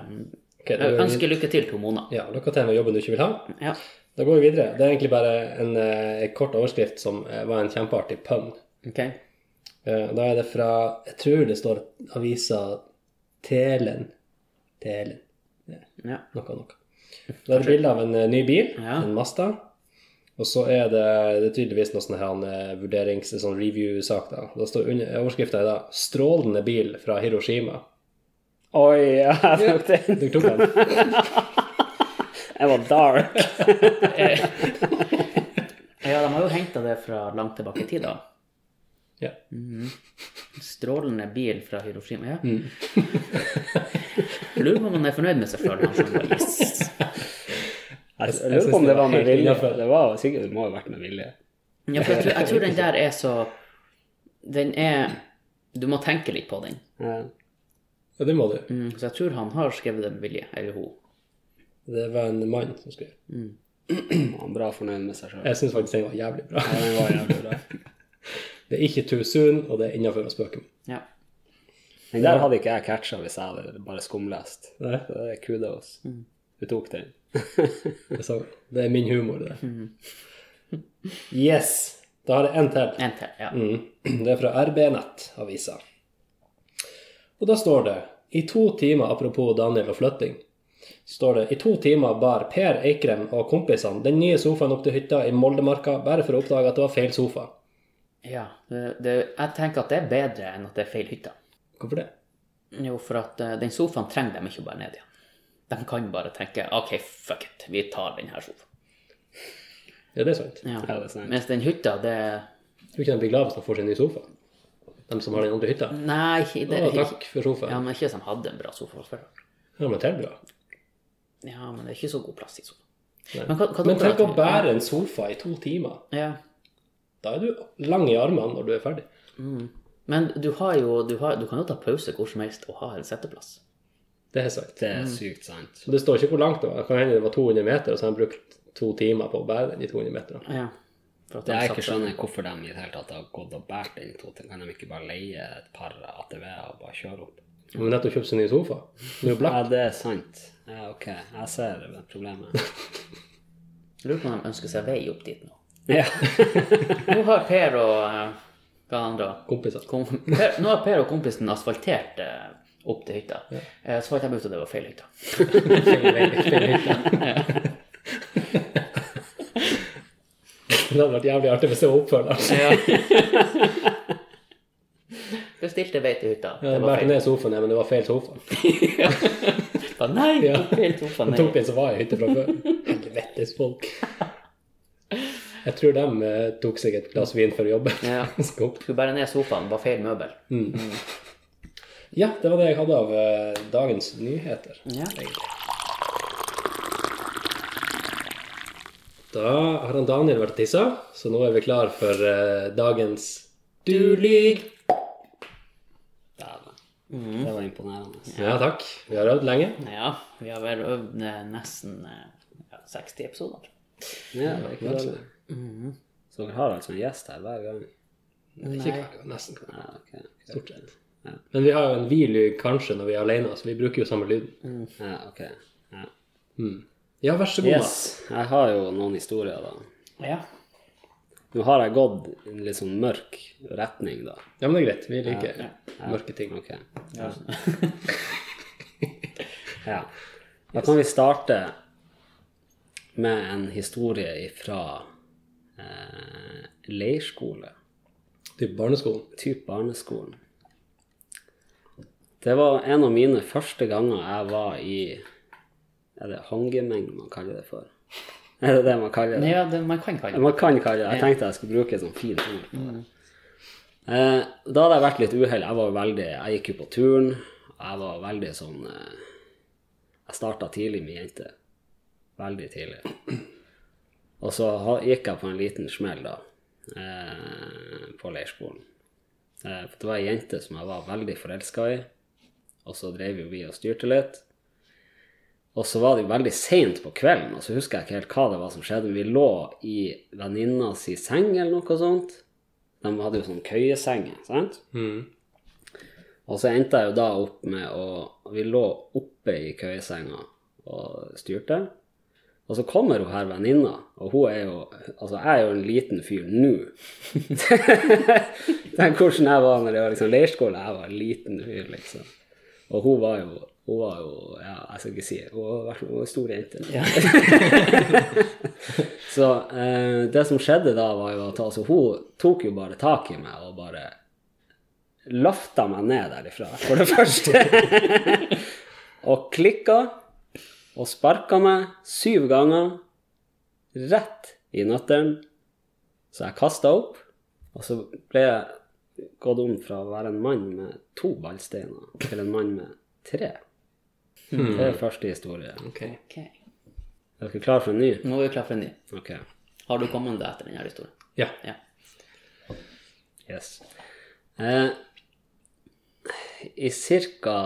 Ok, da
Jeg
går vi vid-
ønsker lykke til til Mona.
Ja, lykke til med jobben du ikke vil ha.
Ja.
Da går vi videre. Det er egentlig bare en eh, kort overskrift som eh, var en kjempeartig pønn.
Ok.
Eh, Da er det fra Jeg tror det står avisa Telen. Telen.
Ja.
Noe, noe. Da er det bilde av en eh, ny bil,
Ja.
en Mazda. Og så er det, det er tydeligvis noe sånn her en, eh, vurderings... en Sånn review-sak, da. Da står under eh, overskrifta i dag 'Strålende bil fra Hiroshima'.
Oi, ja, jeg tok den.
Du tok den?
Jeg var <laughs> dark.
ja, de har jo henta det fra langt tilbake i tid, da.
Ja.
Mhm. Strålende bil fra Hiroshima. Ja.
Mm.
<laughs>
Lurer på om han er fornøyd med seg sjøl. Yes.
Jeg,
jeg
lurer
synes
på om
det
det
var
var med
helt
vilje.
innenfor.
Det var sikkert, det må ha vært med vilje.
Ja, for jeg tror, jeg tror den der er så Den er Du må tenke litt på den.
Ja.
Ja, det må du.
Mm, så jeg tror han har skrevet det med vilje. Eller hun.
Det var en mann som skrev.
Han var bra fornøyd med seg sjøl.
Jeg syns faktisk den var jævlig bra.
Ja, den var jævlig bra.
<laughs> Det er ikke too soon, og det er innafor å spøke med.
Ja.
Den der hadde ikke jeg catcha hvis jeg hadde bare skumlest.
Nei,
Så det er kudos. Du tok den.
det er sant. Det er min humor, det
Mm.
der. Yes! Da har jeg en til.
En til. Ja.
Mm. <clears throat> Det er fra RB-nett-avisa. Og da står det I to timer, apropos Daniel og flytting, står det I to timer bar Per Eikrem og kompisene den nye sofaen opp til hytta i Moldemarka bare for å oppdage at det var feil sofa.
ja det, det, jeg tenker at det er bedre enn at det er feil hytte.
Hvorfor det?
Jo, for at eh, den sofaen trenger de ikke å bære ned igjen. De kan bare tenke OK, fuck it, vi tar den her sofaen.
Ja, det er sant.
Ja.
Ja, det er sant.
Mens den hytta, det
Tror ikke de blir glad hvis de får sin nye sofa, de som har den andre hytta.
Nei, det
Å, takk for
Ja,
sofaen.
men ikke som hadde en bra sofa fra før.
Ja, men det er bra.
Ja, men det er ikke så god plass i sofaen.
Nei.
Men hva- hva
Men
dere
tenk å
tror-
bære en sofa i to timer.
Ja.
Da er du lang i armene når du er ferdig.
Mm. Men du har jo du, har, du kan jo ta pause hvor som helst og ha en setteplass.
Det er sant.
Det er sykt sant.
Så det står ikke hvor langt det var. Det kan hende det var 200 meter, og så har han brukt to timer på å bære den i 200 meter.
Ja. For at
Det
de
jeg ikke
satte-
skjønner, er hvorfor de i det hele tatt har gått og båret den to ting. Kan de ikke bare leie et par ATV-er og bare kjøre opp?
Han har nettopp kjøpt seg ny sofa. Nå er blakk.
Ja, det er sant. Ja, OK. Jeg ser det problemet.
Jeg lurer på om de ønsker seg vei opp dit nå.
<laughs> Ja.
Nå har Per og eh, Hva er han da?
Kompiser.
Kom, per, nå har Per og kompisen asfaltert eh, opp til hytta. Eh, så fant de ut at det var feil hytta.
Feil vei, feil hytte.
<laughs>
Det hadde vært jævlig artig hvis det var oppfølgeren.
<laughs> Bestilte vei til hytta.
Ja,
Det var
bærte
feil.
ned sofaen, ja, men det var feil sofa.
Ba, Nei, <laughs>
Ja.
feil sofa,
Han
nei.
tok den som var i hytta fra før. Helvetes folk. Jeg tror de eh, tok seg et glass vin før jobben. <laughs>
Ja.
Skal opp.
Skulle bære ned sofaen, var feil møbel.
Ja, det var det jeg hadde av eh, dagens nyheter.
Ja.
Da har han Daniel vært og tissa, så nå er vi klar for eh, dagens Du lyg!
Dæven. Det var imponerende.
Ja takk. Vi har øvd lenge.
ja. Vi har vel øvd eh, nesten eh, ja, 60 episoder.
Ja, det er ikke
vel
dårlig.
så
Så dere har altså en gjest her hver gang?
Ikke hver gang, nesten hver gang.
Ja, ok.
Stort sett. Men vi har jo en vi-lyd kanskje når vi er alene, så vi bruker jo samme lyden.
Ja, ok. Ja.
Ja, vær så god,
Yes, jeg har jo noen historier, da.
Ja.
Nå har jeg gått i en litt sånn mørk retning, da.
da. Ja, men det er greit. Vi liker mørke ting.
Ok. Ja. Da kan vi starte med en historie fra eh, leirskole,
Typ barneskolen.
typ barneskolen. Det var en av mine første ganger jeg var i Er det hangemeng man kaller det for? Er det det man kaller det?
Nei, ja, det, man kan kalle det
Man kan kalle det Jeg tenkte jeg skulle bruke et sånt fint ord på det. Eh, da hadde jeg vært litt uheldig. Jeg var veldig Jeg gikk jo på turn. Jeg var veldig sånn eh, Jeg starta tidlig med jenter. Veldig tidlig. Og så ha- gikk jeg på en liten smell, da, eh, på leirskolen. Eh, for det var ei jente som jeg var veldig forelska i, og så drev jo vi og styrte litt. Og så var det jo veldig seint på kvelden, og så husker jeg ikke helt hva det var som skjedde. men Vi lå i venninna si seng eller noe sånt. De hadde jo sånn køyesenger, sant?
Mm.
Og så endte jeg jo da opp med å Vi lå oppe i køyesenga og styrte. Og så kommer hun her venninna, og hun er jo Altså, jeg er jo en liten fyr nå. <laughs> Tenk hvordan jeg var når jeg var liksom leirskole. Jeg var en liten fyr, liksom. Og hun var jo hun var jo ja, jeg skal ikke si det, hun var hun var en stor jente. så eh, det som skjedde da, var jo at altså, hun tok jo bare tak i meg og bare lafta meg ned derifra, for det <laughs> første. og klikka og sparka meg syv ganger rett i nøtteren. Så jeg kasta opp, og så ble jeg gått om fra å være en mann med to ballsteiner til en mann med tre. Det er første historie.
Hmm. Ok.
Ok.
Er dere klare for en ny?
Nå er vi klar for en ny.
Ok.
Har du kommet deg etter denne historien?
Ja.
Ja.
Yes. Eh, I ca.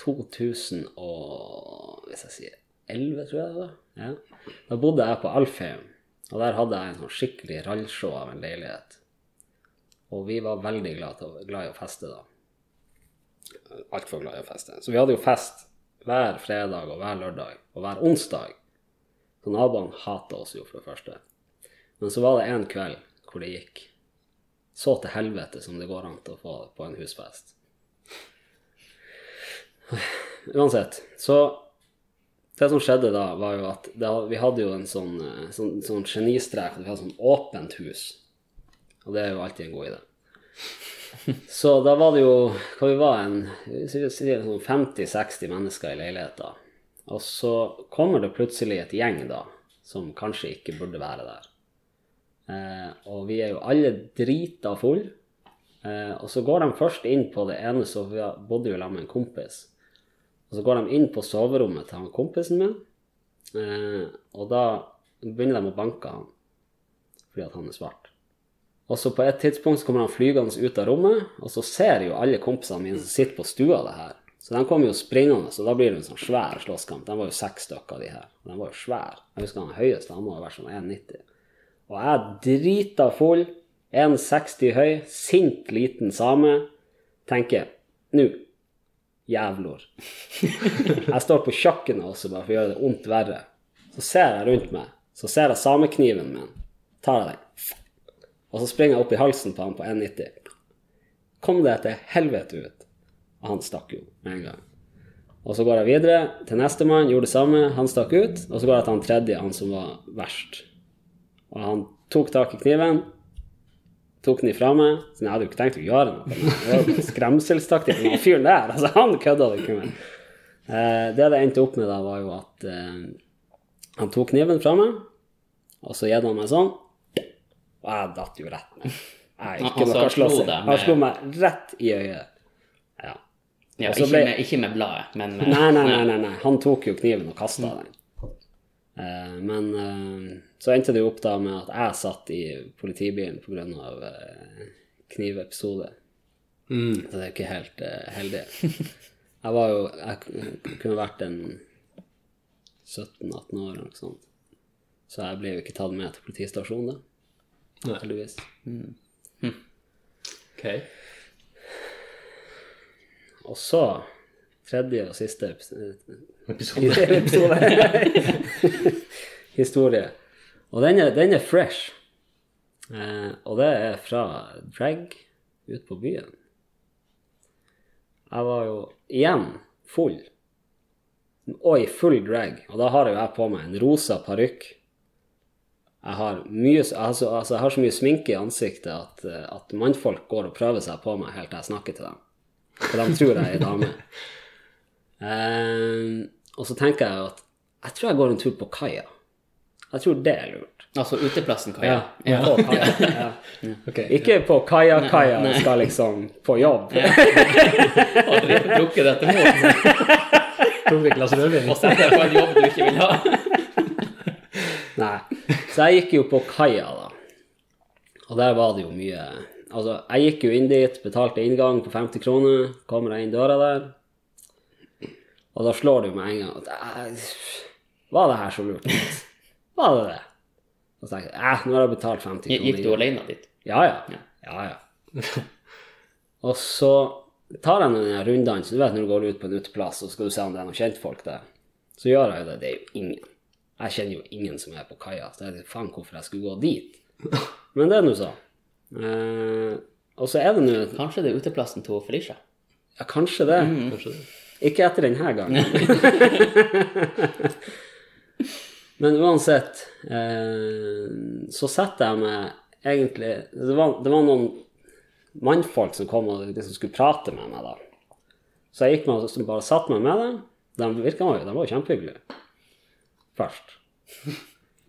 2000 og Hvis jeg sier 11, tror jeg det var. Ja. Da bodde jeg på Alfheim, og der hadde jeg en sånn skikkelig rallshow av en leilighet. Og vi var veldig glad, til, å- glad i å feste da. Altfor glad i å feste. Så vi hadde jo fest hver fredag og hver lørdag og hver onsdag. Så naboene hata oss jo, for det første. Men så var det en kveld hvor det gikk så til helvete som det går an til å få det på en husfest. Uansett, så det som skjedde da, var jo at det, vi hadde jo en sånn, eh, sånn, sånn genistrek, at vi hadde sånn åpent hus. Og det er jo alltid en god idé. Så da var det jo hva vi var, en sikkert- sikkert sånn 50-60 mennesker i leiligheta. Og så kommer det plutselig et gjeng da, som kanskje ikke burde være der. Eh, og vi er jo alle drita full. Eh, og så går de først inn på det ene soverommet, bodde jo sammen med en kompis. Og så går de inn på soverommet til han kompisen min, eh, og da begynner de å banke han fordi at han er svart. Og så på et tidspunkt så kommer han flygende ut av rommet, og så ser jo alle kompisene mine som sitter på stua det her. Så de kommer jo springende, og da blir det en sånn svær slåsskamp. De var jo seks stykker, av de her. De var jo svære. Jeg husker han høyeste, han må ha vært sånn 1,90. Og jeg drita full, 1,60 høy, sint liten same, tenker nå, jævlor. <laughs> Jeg står på kjøkkenet også bare for å gjøre det vondt verre. Så ser jeg rundt meg, så ser jeg samekniven min, tar jeg den, og så springer jeg opp i halsen på han på 1,90. Kom deg til helvete ut. Og han stakk jo med en gang. Og så går jeg videre til nestemann, gjorde det samme, han stakk ut. Og så går jeg til han tredje, han som var verst. Og han tok tak i kniven, tok den ifra meg. Så jeg hadde jo ikke tenkt å gjøre noe. med den. Det var jo skremselstaktikk. Men han fyren der, altså, han kødda det ikke med. Eh, det det endte opp med da, var jo at eh, han tok kniven fra meg, og så gjedde han meg sånn, og jeg datt jo rett ned. Jeg er
Han-
ikke
altså,
noe
han slo
slåssing.
deg
Han
med-
slo meg rett i øyet. Ja.
ja
Og så
Altså,
ikke,
ble-
med, ikke med bladet, men med
Nei, nei, nei, nei, nei. Han tok jo kniven og kasta den. Eh, men eh, så endte det jo opp da med at jeg satt i politibilen pga. Uh, knivepisode.
Mm.
Så det er jo ikke helt eh, heldig. Jeg var jo Jeg k- kunne vært en 17-18 år eller noe sånt. Så jeg ble jo ikke tatt med til politistasjonen, da.
Nei.
Heldigvis.
Mm. Hm. Ok.
Og så, tredje og siste epis-
Episode. <laughs>
episode. <laughs> Historie. Og den er, den er fresh. Eh, og det er fra drag ut på byen. Jeg var jo igjen full. Og i full drag. Og da har jo jeg på meg en rosa parykk. Jeg har, mye, s- altså, altså, jeg har så mye sminke i ansiktet at, eh, at mannfolk går og prøver seg på meg helt til jeg snakker til dem. For de tror jeg er dame. Ehm, og så tenker jeg at jeg tror jeg går en tur på kaia. Jeg tror det er lurt.
Altså uteplassen, Kaja.
På
<laughs>
kaia. Ja.
Ok.
Ikke på kaia-kaia jeg skal liksom på jobb.
Og du plukker dette målet
Tok du et glass rødvin?
og setter deg på en jobb du ikke vil ha.
Nei. Så jeg gikk jo på kaia, da. Og der var det jo mye Altså, jeg gikk jo inn dit, betalte inngang på 50 kroner, kommer jeg inn døra der, og da slår det jo med en gang at «Æ, Var det her
<laughs>
så lurt? Var det det? Og så tenkte jeg «Æ, nå har jeg betalt 50 kroner.
Gikk du alene dit?
Ja, ja. ja, ja. <laughs> og så tar jeg den rundene, så du vet når du går ut på en uteplass, og skal du se om det er noen kjentfolk der. Så gjør jeg jo det. Det er jo ingen. Jeg kjenner jo ingen som er på kaia, så jeg vet faen hvorfor jeg skulle gå dit. Men det er nå så. Eh, Og så er det nå
Kanskje det er uteplassen til Felicia.
ja, Kanskje det.
Kanskje det.
Ikke etter denne gangen. Men uansett eh, så setter jeg meg egentlig Det var, det var noen mannfolk som kom og liksom skulle prate med meg, da. Så jeg gikk med, og bare satte meg med dem. De virka jo de var jo kjempehyggelige først.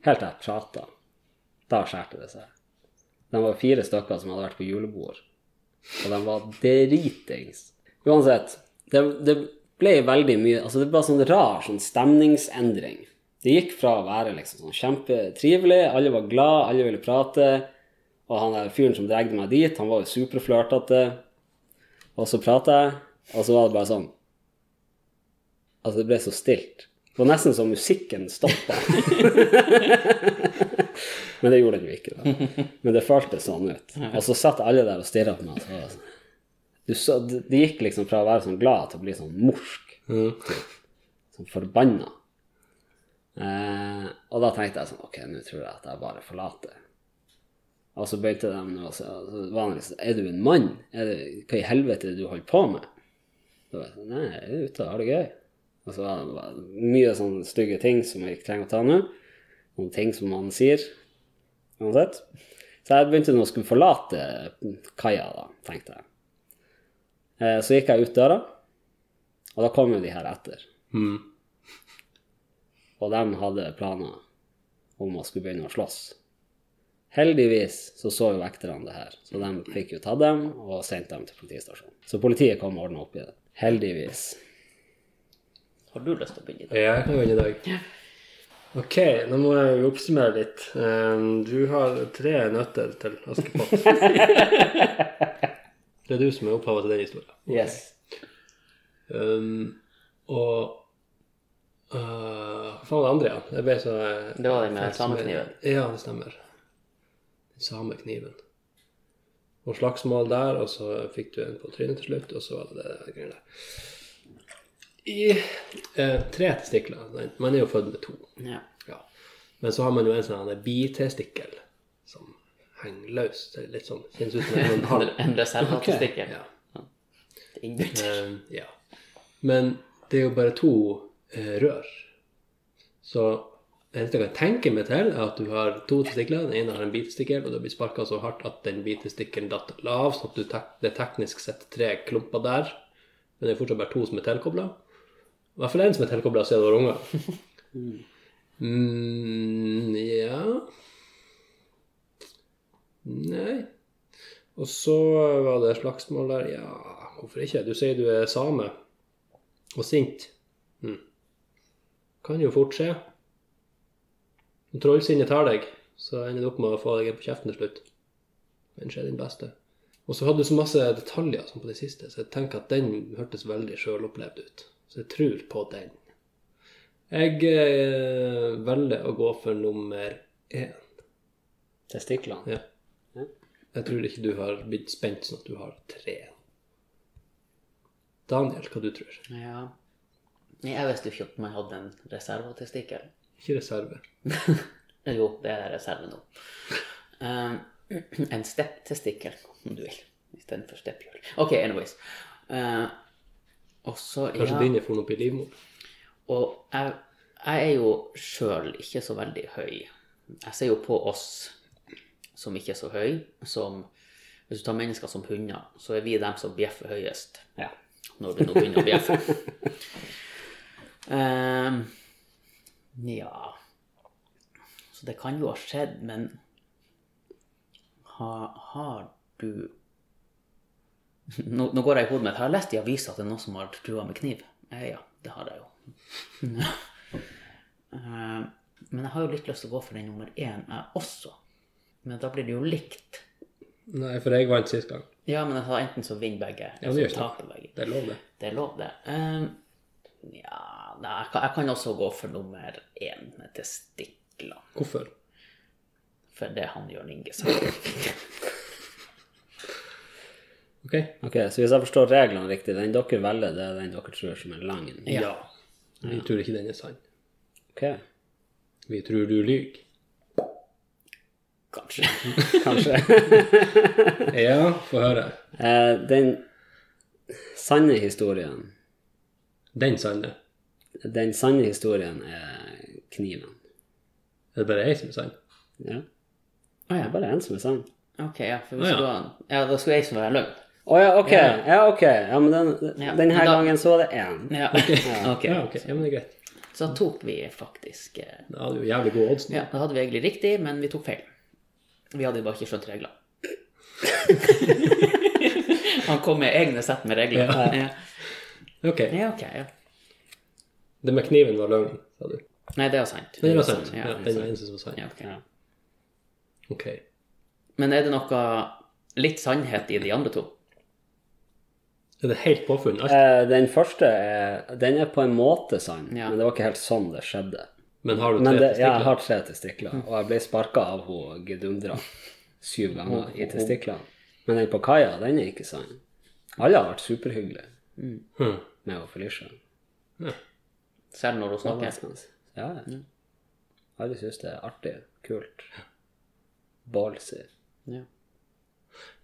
Helt til jeg prata. Da skjærte det seg. De var fire stykker som hadde vært på julebord. Og de var dritings. Uansett, det, det ble veldig mye Altså, det ble sånn rar sånn stemningsendring. Det gikk fra å være liksom sånn kjempetrivelig, alle var glad, alle ville prate, og han der fyren som dregde meg dit, han var jo superflørtete, og så prata jeg, og så var det bare sånn Altså, det ble så stilt. Det var nesten som musikken stoppa. Men det gjorde den jo ikke, da. Men det føltes sånn ut. Og så satt alle der og stirra på meg. Så var det sånn. du så, det det gikk liksom fra å være sånn glad til å bli sånn morsk. Sånn forbanna. Eh, og da tenkte jeg sånn Ok, nå tror jeg at jeg bare forlater. Og så begynte de nå å si vanligvis liksom, Er du en mann? Er det, hva i helvete er det du holder på med? Da var jeg sånn Nei, jeg er ute og har det gøy. Og så var det bare mye sånne stygge ting som jeg ikke trenger å ta nå. Noen ting som han sier. Uansett. Så jeg begynte nå å skulle forlate kaia, da, tenkte jeg. Eh, Så gikk jeg ut døra, og da kom jo de her etter.
Mm.
Og de hadde planer om å skulle begynne å slåss. Heldigvis så så jo vekterne det her, så de fikk jo tatt dem og sendt dem til politistasjonen. Så politiet kom og ordna opp i det. Heldigvis.
Har du lyst til å begynne?
Ja, jeg kan begynne i dag. Ok, nå må jeg oppsummere litt. Ehm, Du har tre nøtter til <laughs> Askepott. Det er du som er opphavet til den historien.
Yes.
Ehm, og øh, Hva faen var det andre, ja? Jeg eh, ble så
Det var det med samekniven.
Ja, det stemmer. Samekniven. Og slagsmål der, og så fikk du en på trynet til slutt, og så var det det greiene der. I eh, tre testikler. Nei, Man er jo født med to.
Ja.
Ja. Men så har man jo en sånn her bitestikkel som henger løs. Det er litt sånn, kjennes ut som en
<laughs>
sånn halv.
En reservehattestikker.
Ja.
Innbytt.
Eh, ja. Men det er jo bare to eh, rør. Så det eneste jeg kan tenke meg til, er at du har to testikler. Den ene har en bitestikkel, og du blir sparka så hardt at den bitestikkelen datt lav, sånn at du tek det er teknisk sett tre klumper der. Men det er fortsatt bare to som er tilkobla. I hvert fall én som er tilkobla siden du var unge. Mm, ja Nei. Og så var det slagsmål der. Ja, hvorfor ikke? Du sier du er same og sint. Hm. Kan jo fort skje. Når trollsinnet tar deg, så ender du opp med å få deg en på kjeften til slutt. Kanskje er din beste. Og så hadde du så masse detaljer som på det siste, så jeg tenker at den hørtes veldig sjølopplevd ut. Så jeg tror på den. Jeg eh, velger å gå for nummer én.
Testiklene.
Ja.
Ja.
Jeg tror ikke du har blitt spent sånn at du har tre. Daniel, hva du tror?
Ja. Nei, jeg visste jo ikke at man hadde en reservehattestikker.
Ikke reserve.
Jo, det er reserve nå. Um, <clears throat> en stepptestikkel, om du vil. Istedenfor stepphjul. OK, anyways. Uh, og så,
Kanskje
ja
dine får noe opp i livmor?
Og jeg, jeg er jo sjøl ikke så veldig høy. Jeg ser jo på oss som ikke er så høy, som Hvis du tar mennesker som hunder, så er vi dem som bjeffer høyest.
Ja.
Når du nå begynner å bjeffe. um, ja Så det kan jo ha skjedd, men ha, har du nå, nå går jeg i hodet mitt. Har jeg lest i avisa at det er noen som har trua med kniv? Eh, ja, det har jeg jo. <laughs> Eh, Men jeg har jo litt lyst til å gå for den nummer én, jeg også. Men da blir det jo likt.
Nei, for jeg vant sist gang.
Ja, men jeg sa enten så vinner begge,
Ja, det
eller
gjør
så
ikke
taper begge.
Det er lov, det.
Det er lov, det. Eh, ja, nei, jeg kan, jeg kan også gå for nummer én, med testiklene.
Hvorfor?
For det han Jørn Inge sa.
OK?
Ok, Så hvis jeg forstår reglene riktig, den dere velger, det er den dere tror som er lang?
Ja. Vi tror ikke den er sann.
Ok.
Vi tror du lyver.
Kanskje.
kanskje.
Ja, få høre.
Eh, den sanne historien
Den sanne.
Den sanne historien er kniven.
Er det bare ei som er sann?
Ja.
Å
Det er bare én som er sann.
<laughs> Ok, ja. For hvis
Å, ja.
du har- ja, da skulle jeg som være løgn.
Å ja, ok.
Ja.
Ja, ok. Ja, men den,
Ja, men
denne
da-
gangen så var det én.
Ja. <laughs> ok.
Ja, ok. Ja, men det er greit.
Så da tok vi faktisk eh,
Da hadde vi jo jævlig gode odds nå.
Ja, da hadde vi egentlig riktig, men vi tok feil. Vi hadde jo bare ikke skjønt <laughs> reglene. Han kom med egne sett med regler. Ja,
Ok.
ja ok. Ja.
Det med kniven var løgn, sa du.
Nei, det er jo sant.
Den var sant.
Ja,
Ja, den var eneste som var sann.
ja, ok.
Ja.
Ok.
Men er det noe litt sannhet i de andre to?
Er det helt påfunn? Alt.
Eh, den første er Den er på en måte sann,
Ja.
men det var ikke helt sånn det skjedde.
Men har du
Men
tre
det, ja, jeg
testikler?
har tre testikler, og jeg ble sparka av hun gedundra syv ganger i testiklene. Men den på kaia, den er ikke sann. Alle har vært superhyggelige
Hm.
med hun Felicia.
Selv når hun snakker?
Ja, ja. Alle syns det er artig, kult, ballsy.
Ja.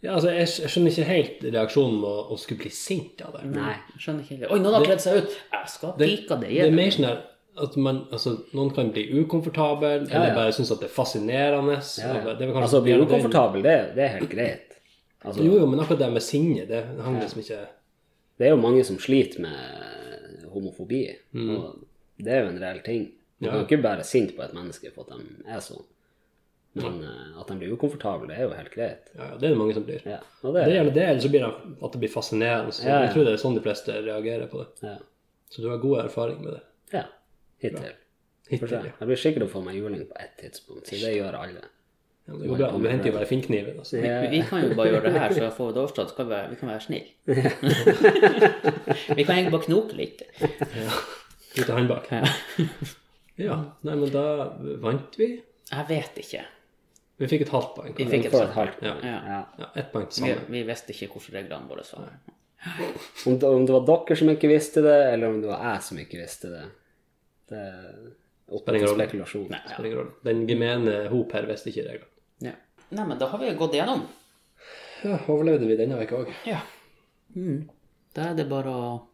Ja, altså, jeg, jeg skjønner ikke helt reaksjonen med å, å skulle bli sint av det.
Nei, skjønner ikke helt. Oi, noen har kledd seg ut! Jeg skal
Det,
pika Mm. det
det er
igjen.
mer sånn der at man, altså, noen kan bli ukomfortabel, eller
ja.
bare synes at det er fascinerende.
Ja,
og
ja.
det er kanskje-
Altså, blir
det-
du komfortabel, det, det er helt greit. Altså,
Jo, jo, men akkurat det med sinne, det hang liksom ikke
Det er jo mange som sliter med homofobi, og det er jo en reell ting. Du
Mm. Ja.
kan ikke være sint på et menneske for at de er sånn. Men eh, at de blir ukomfortable, det er jo helt greit.
Ja, ja, det er det mange som blir.
Ja, og det,
Det gjelder det, eller så blir det at det blir fascinerende. Så
Ja, ja.
Jeg tror det er sånn de fleste reagerer på det.
ja.
Så du har god erfaring med det.
ja. Hittil. For
Hittil,
seg.
ja.
Jeg blir sikkert å få meg juling på ett tidspunkt, så det gjør alle.
Ja, men Det går bra. Du henter jo bare finnkniven. Altså.
Ja.
Vi kan jo bare gjøre det her, så får vi det overstått. så kan Vi, være- vi kan være <laughs> snille. vi kan egentlig bare knoke litt.
Ut av håndbak.
Ja.
Ja, nei, men da vant vi.
Jeg vet ikke.
Vi fikk et halvt poeng.
Vi
kanskje.
fikk
Du
et
får et
sånt.
halvt
Ja.
poeng. Ja.
Ja, ett poeng til
Vi,
sammen.
vi visste ikke hvordan reglene våre var.
Om, det- om det var dere som ikke visste det, eller om det var jeg som ikke visste det, det er opp
Spiller ingen
til
rolle.
spekulasjon.
Spiller ingen rolle. Den gemene hop her visste ikke reglene.
Ja. Nei, men da har vi jo gått igjennom.
Ja, overlevde vi denne uka òg.
Ja. Mm. Da er det bare å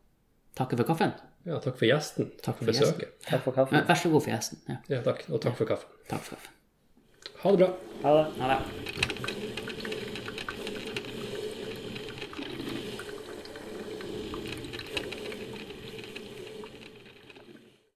takke for kaffen.
Ja, takk for gjesten. Takk for
for gjesten.
besøket.
Takk for kaffen.
Men Vær så god for gjesten. Ja.
Ja, takk. Og takk for kaffen.
Takk for kaffen.
Ha det bra.
Ha det.
Ha det.